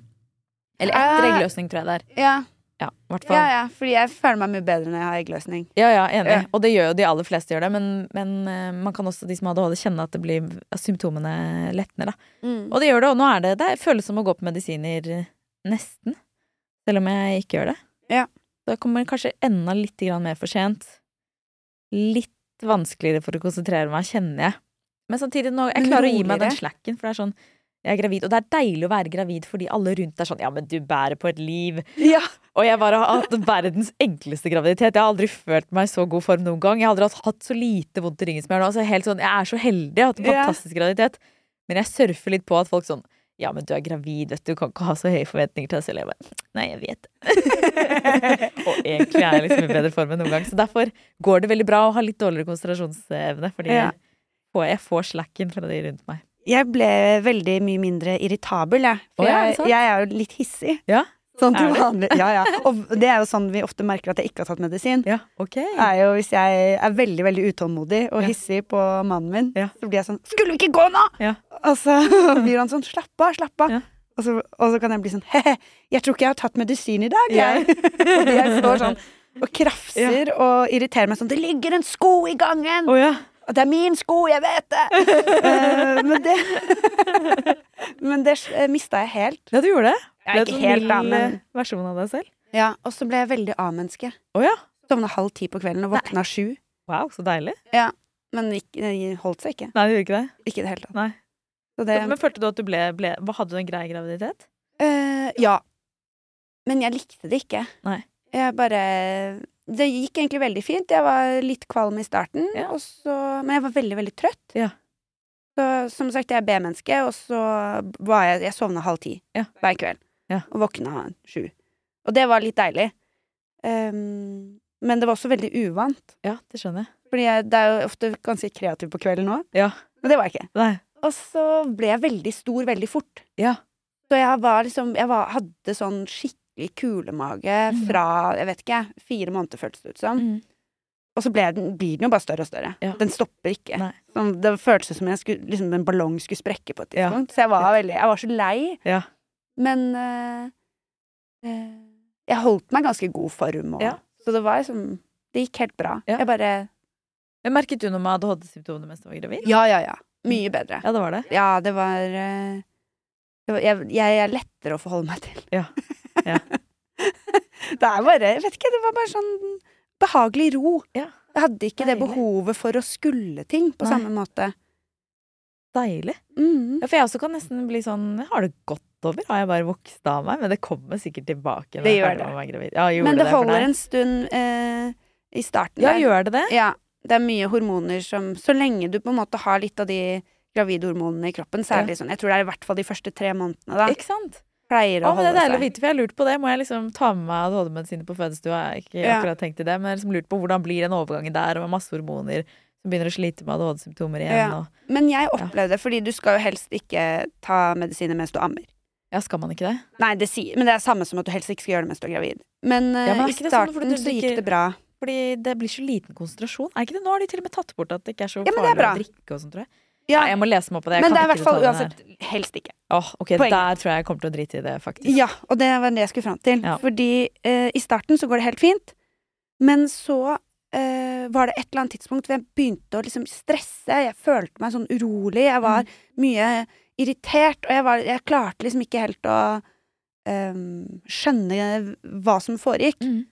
Speaker 1: Eller etter
Speaker 2: Eh.
Speaker 1: eggløsning, tror jeg det er.
Speaker 2: Ja.
Speaker 1: Ja, i hvert
Speaker 2: ja,
Speaker 1: fall.
Speaker 2: ja, fordi jeg føler meg mye bedre når jeg har eggløsning.
Speaker 1: Ja, ja, enig.
Speaker 2: Ja.
Speaker 1: Og det gjør jo de aller fleste, gjør det. Men, men eh, man kan også, de som har ADHD, kjenne at det blir at symptomene letner. Da.
Speaker 2: Mm.
Speaker 1: Og det gjør det, og nå er det Det føles som å gå på medisiner eh, nesten. Selv om jeg ikke gjør det.
Speaker 2: Ja.
Speaker 1: Da kommer det kanskje enda litt grann mer for sent. Litt vanskeligere for å konsentrere meg, kjenner jeg. Men samtidig, nå, jeg
Speaker 2: Men
Speaker 1: klarer å gi meg
Speaker 2: roligere.
Speaker 1: den slacken, for det er sånn jeg er gravid, Og det er deilig å være gravid fordi alle rundt er sånn Ja, men du bærer på et liv.
Speaker 2: Ja.
Speaker 1: Og jeg bare har hatt verdens enkleste graviditet. Jeg har aldri følt meg i så god form noen gang. Jeg har aldri hatt- hatt så lite vondt i ryggen som jeg har nå. Altså, helt sånn, jeg er så heldig. Jeg har hatt en
Speaker 2: Ja.
Speaker 1: fantastisk graviditet. Men jeg surfer litt på at folk sånn Ja, men du er gravid, vet du. Du kan ikke ha så høye forventninger til deg selv. Jeg bare, Nei, jeg vet det. og egentlig er jeg liksom i bedre form enn noen gang. Så derfor går det veldig bra å ha litt dårligere konsentrasjonsevne. Fordi
Speaker 2: Ja.
Speaker 1: jeg får- jeg får slacken fra de rundt meg.
Speaker 2: Jeg ble veldig mye mindre irritabel, jeg. For
Speaker 1: Å, ja, er det
Speaker 2: jeg,
Speaker 1: sant?
Speaker 2: jeg er jo litt hissig.
Speaker 1: Ja,
Speaker 2: Sånn til
Speaker 1: Er det?
Speaker 2: vanlig. Ja, ja. Og det er jo sånn vi ofte merker at jeg ikke har tatt medisin.
Speaker 1: ja, ok.
Speaker 2: Er jo hvis jeg er veldig veldig utålmodig og
Speaker 1: Ja.
Speaker 2: hissig på mannen min,
Speaker 1: Ja.
Speaker 2: så blir jeg sånn 'Skulle vi ikke gå nå?'
Speaker 1: Ja.
Speaker 2: Og så blir han sånn 'Slapp av, slapp av'.
Speaker 1: Ja.
Speaker 2: Og, så, og så kan jeg bli sånn 'He-he, jeg tror ikke jeg har tatt medisin i dag', jeg. og jeg står sånn og krafser og irriterer meg sånn 'Det ligger en sko i gangen!'
Speaker 1: Å ja.
Speaker 2: Og det er min sko, jeg vet det! Eh, men det Men det mista jeg helt.
Speaker 1: Ja, du gjorde det.
Speaker 2: Jeg er
Speaker 1: Ble
Speaker 2: ikke
Speaker 1: en
Speaker 2: helt
Speaker 1: mild,
Speaker 2: da, men-
Speaker 1: eh, versjon av deg selv.
Speaker 2: Ja, Og så ble jeg veldig A-menneske.
Speaker 1: Å ja.
Speaker 2: Sovna halv ti på kvelden og våkna sju.
Speaker 1: Wow, så deilig.
Speaker 2: Men gikk- det holdt seg ikke.
Speaker 1: Nei, det gjorde ikke det.
Speaker 2: Ikke i det hele tatt.
Speaker 1: Nei.
Speaker 2: Så det,
Speaker 1: Men følte du at du ble, ble hva, Hadde du en grei graviditet?
Speaker 2: Eh, ja. Men jeg likte det ikke.
Speaker 1: Nei.
Speaker 2: Jeg bare Det gikk egentlig veldig fint. Jeg var litt kvalm i starten,
Speaker 1: Ja.
Speaker 2: og så, men jeg var veldig, veldig trøtt.
Speaker 1: Ja.
Speaker 2: Så som sagt, jeg er B-menneske, og så var jeg Jeg sovna halv ti
Speaker 1: Ja.
Speaker 2: hver kveld.
Speaker 1: Ja.
Speaker 2: Og våkna sju. Og det var litt deilig. Ehm, men det var også veldig uvant.
Speaker 1: Ja, det skjønner jeg.
Speaker 2: Fordi jeg, det er jo ofte ganske kreativ på kvelden òg.
Speaker 1: Ja.
Speaker 2: Men det var jeg ikke.
Speaker 1: Nei.
Speaker 2: Og så ble jeg veldig stor veldig fort.
Speaker 1: Ja.
Speaker 2: Så jeg var liksom Jeg var, hadde sånn skikkelig kulemage
Speaker 1: Mhm.
Speaker 2: fra jeg vet ikke, fire måneder, føltes det ut som.
Speaker 1: Mhm.
Speaker 2: Og så ble den, blir den jo bare større og større.
Speaker 1: Ja.
Speaker 2: Den stopper ikke.
Speaker 1: Nei.
Speaker 2: Sånn, det føltes som jeg skulle, liksom, en ballong skulle sprekke på et
Speaker 1: Ja.
Speaker 2: tidspunkt. Så jeg var veldig Jeg var så lei.
Speaker 1: Ja.
Speaker 2: Men eh, eh, jeg holdt meg i ganske god form, og,
Speaker 1: Ja.
Speaker 2: så det var liksom Det gikk helt bra.
Speaker 1: Ja.
Speaker 2: Jeg bare
Speaker 1: Men merket du noe med ADHD-symptomer mens du var gravid?
Speaker 2: Ja, ja, ja. Mye bedre.
Speaker 1: Ja, det var det.
Speaker 2: Ja, det var, eh, det var jeg, jeg er lettere å forholde meg til.
Speaker 1: Ja. Ja.
Speaker 2: det er bare Jeg vet ikke, det var bare sånn behagelig ro.
Speaker 1: Ja.
Speaker 2: Jeg hadde ikke det
Speaker 1: Deilig.
Speaker 2: behovet for å skulle ting på
Speaker 1: Nei.
Speaker 2: samme måte.
Speaker 1: Deilig.
Speaker 2: Mhm.
Speaker 1: Ja, for jeg også kan nesten bli sånn Jeg har det godt over. Har jeg bare vokst av meg? Men det kommer sikkert tilbake. når
Speaker 2: Det
Speaker 1: jeg
Speaker 2: gjør
Speaker 1: er ferdig
Speaker 2: det.
Speaker 1: med å være gravid. Ja, gjorde
Speaker 2: Men det
Speaker 1: for
Speaker 2: holder
Speaker 1: deg?
Speaker 2: en stund eh, i starten.
Speaker 1: Ja,
Speaker 2: der.
Speaker 1: gjør det det?
Speaker 2: ja, det er mye hormoner som Så lenge du på en måte har litt av de gravidhormonene i kroppen, særlig sånn Jeg tror det er i hvert fall de første tre månedene, da.
Speaker 1: Ikke sant?
Speaker 2: Pleier å
Speaker 1: Å, men det
Speaker 2: holde
Speaker 1: er deilig å
Speaker 2: seg.
Speaker 1: vite, for jeg har lurt på det. Må jeg liksom ta med meg ADHD-medisiner på fødestua? Jeg har ikke
Speaker 2: Ja.
Speaker 1: akkurat tenkt i det, men jeg har liksom lurt på hvordan blir den overgangen der, og med masse hormoner som begynner å slite med ADHD-symptomer igjen.
Speaker 2: Ja.
Speaker 1: Og,
Speaker 2: Men jeg opplevde det, fordi du skal jo helst ikke ta medisiner mens du ammer.
Speaker 1: ja, skal man ikke det?
Speaker 2: Nei, det sier, men det er samme som at du helst ikke skal gjøre det mens du er gravid. Men, eh,
Speaker 1: men er
Speaker 2: i
Speaker 1: ikke det sånn
Speaker 2: starten
Speaker 1: fordi du
Speaker 2: så gikk
Speaker 1: drikker-
Speaker 2: det bra.
Speaker 1: Fordi det blir så liten konsentrasjon. Er ikke det? Nå har de til og med tatt bort at det ikke er så
Speaker 2: Ja, men det er
Speaker 1: farlig å
Speaker 2: bra.
Speaker 1: drikke og sånn, tror jeg.
Speaker 2: Ja,
Speaker 1: Nei, jeg må lese meg opp på det. Jeg
Speaker 2: men det
Speaker 1: kan
Speaker 2: er i
Speaker 1: ikke
Speaker 2: hvert fall
Speaker 1: detaljene her.
Speaker 2: uansett helst ikke.
Speaker 1: Åh, ok,
Speaker 2: Poenget.
Speaker 1: Der tror jeg jeg kommer til å drite i det, faktisk.
Speaker 2: Ja, og det var det jeg skulle fram til.
Speaker 1: Ja.
Speaker 2: Fordi eh, i starten så går det helt fint, men så eh, var det et eller annet tidspunkt hvor jeg begynte å liksom stresse. Jeg følte meg sånn urolig. Jeg
Speaker 1: Mm.
Speaker 2: var mye irritert, og jeg, var, jeg klarte liksom ikke helt å eh, skjønne hva som foregikk.
Speaker 1: Mm.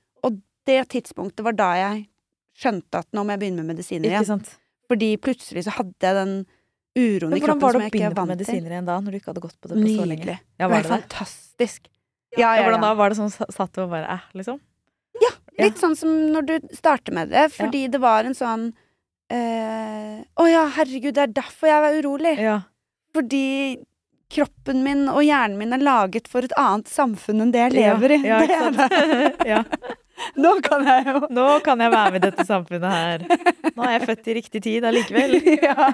Speaker 2: Det tidspunktet var da jeg skjønte at nå må jeg begynne med medisiner
Speaker 1: Ikke
Speaker 2: igjen.
Speaker 1: sant?
Speaker 2: Fordi plutselig så hadde jeg den uroen
Speaker 1: Men
Speaker 2: i
Speaker 1: hvordan
Speaker 2: kroppen
Speaker 1: var
Speaker 2: som
Speaker 1: det å
Speaker 2: jeg ikke
Speaker 1: begynne
Speaker 2: er
Speaker 1: på
Speaker 2: vant til.
Speaker 1: medisiner igjen da, når du ikke hadde gått på det på så lenge?
Speaker 2: Nydelig.
Speaker 1: Ja,
Speaker 2: Det
Speaker 1: var
Speaker 2: var
Speaker 1: det det?
Speaker 2: fantastisk.
Speaker 1: Ja,
Speaker 2: Ja, ja, ja.
Speaker 1: hvordan da? Var det sånn sa- satt du og bare eh, liksom? Ja.
Speaker 2: Litt sånn som når du starter med det, fordi det var en sånn eh, Å ja, herregud, det er derfor jeg var urolig.
Speaker 1: Ja.
Speaker 2: Fordi kroppen min og hjernen min er laget for et annet samfunn enn det jeg lever i.
Speaker 1: Ja,
Speaker 2: det
Speaker 1: ikke
Speaker 2: er det.
Speaker 1: sant? ja.
Speaker 2: Nå kan jeg jo
Speaker 1: Nå kan jeg være med i dette samfunnet her. Nå er jeg født i riktig tid allikevel.
Speaker 2: ja.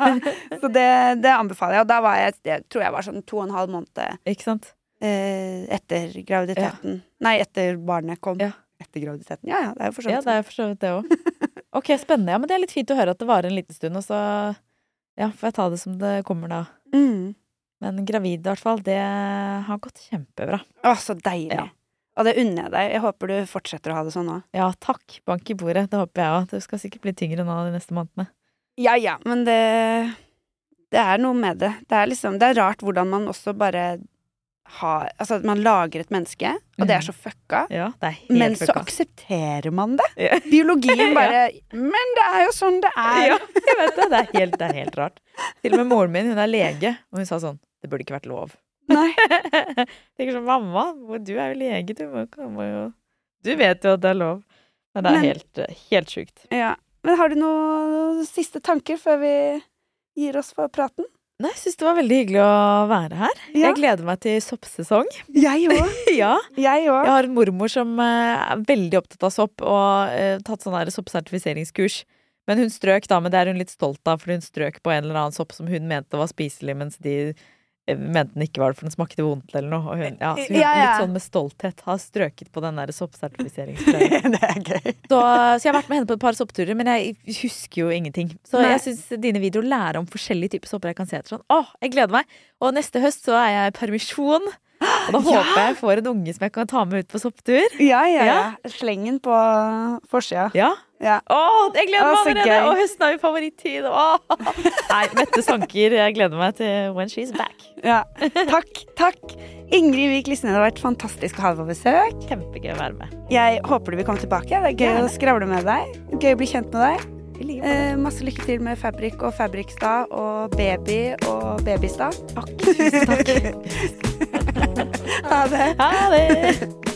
Speaker 2: Så det, det anbefaler jeg. Og da var jeg, jeg tror jeg var sånn to og en halv måned eh,
Speaker 1: Ikke sant?
Speaker 2: etter graviditeten. Nei, etter barnet kom.
Speaker 1: Ja.
Speaker 2: Etter graviditeten. Ja ja, det er jo for så
Speaker 1: Ja,
Speaker 2: vidt sånn.
Speaker 1: det er for så vidt det òg. Ok, spennende. Ja, men det er litt fint å høre at det varer en liten stund, og så ja, får jeg ta det som det kommer da.
Speaker 2: sånn. Mm.
Speaker 1: Men gravid, i hvert fall, det har gått kjempebra.
Speaker 2: Å, så deilig.
Speaker 1: Ja.
Speaker 2: Og det unner jeg deg. Jeg håper du fortsetter å ha det sånn òg.
Speaker 1: Ja, takk. Bank i bordet. Det håper jeg òg. Du skal sikkert bli tyngre nå de neste månedene.
Speaker 2: Ja ja, men det Det er noe med det. Det er liksom Det er rart hvordan man også bare har Altså, at man lager et menneske, og det er så fucka.
Speaker 1: Ja, det er helt
Speaker 2: Men så
Speaker 1: fucka.
Speaker 2: aksepterer man det.
Speaker 1: Ja.
Speaker 2: Biologien bare Men det er jo sånn det er.
Speaker 1: Ja, jeg vet det. Det er, helt, det er helt rart. Til og med moren min, hun er lege, og hun sa sånn Det burde ikke vært lov.
Speaker 2: Nei.
Speaker 1: Tenker sånn Mamma, hvor- du er jo lege, du må, du må jo Du vet jo at det er lov. Men det er
Speaker 2: Men-
Speaker 1: helt, helt sjukt.
Speaker 2: Ja. Men har du noen siste tanker før vi gir oss for praten?
Speaker 1: Nei, jeg syns det var veldig hyggelig å være her.
Speaker 2: Ja.
Speaker 1: Jeg gleder meg til soppsesong.
Speaker 2: Jeg òg.
Speaker 1: ja.
Speaker 2: Jeg òg.
Speaker 1: Jeg har en mormor som eh, er veldig opptatt av sopp og eh, tatt sånn her soppsertifiseringskurs. Men hun strøk da, men det er hun litt stolt av, for hun strøk på en eller annen sopp som hun mente var spiselig, mens de eh, mente den ikke var det, for den smakte vondt eller noe. Og hun, ja, så hun
Speaker 2: Ja, ja.
Speaker 1: litt sånn med stolthet har strøket på den der soppsertifiseringsprøven.
Speaker 2: det er gøy.
Speaker 1: Så, så jeg har vært med henne på et par soppturer, men jeg husker jo ingenting. Så
Speaker 2: Nei.
Speaker 1: jeg syns dine videoer lærer om forskjellige typer sopper jeg kan se etter. Sånn, åh, jeg gleder meg. Og neste høst så er jeg i permisjon. Og da håper jeg jeg får en unge som jeg kan ta med ut på sopptur.
Speaker 2: Ja, ja,
Speaker 1: Ja.
Speaker 2: ja. Slengen på forsida.
Speaker 1: Ja.
Speaker 2: Ja.
Speaker 1: Åh, jeg gleder
Speaker 2: Åh,
Speaker 1: meg
Speaker 2: så
Speaker 1: allerede!
Speaker 2: gøy.
Speaker 1: Og høsten er jo favorittid. Åh. Nei, Mette sanker. Jeg gleder meg til When She's Back.
Speaker 2: ja. Takk, takk. Ingrid Vik Lisne, det har vært fantastisk å ha deg på besøk.
Speaker 1: Kjempegøy å være med.
Speaker 2: Jeg håper du vil komme tilbake. Det er gøy å skravle med deg. Gøy å bli kjent med deg.
Speaker 1: I like måte.
Speaker 2: Eh, masse lykke til med Fabrik og Fabrikstad og baby og Babystad.
Speaker 1: Takk. Tusen takk.
Speaker 2: Ha det.
Speaker 1: Ha det!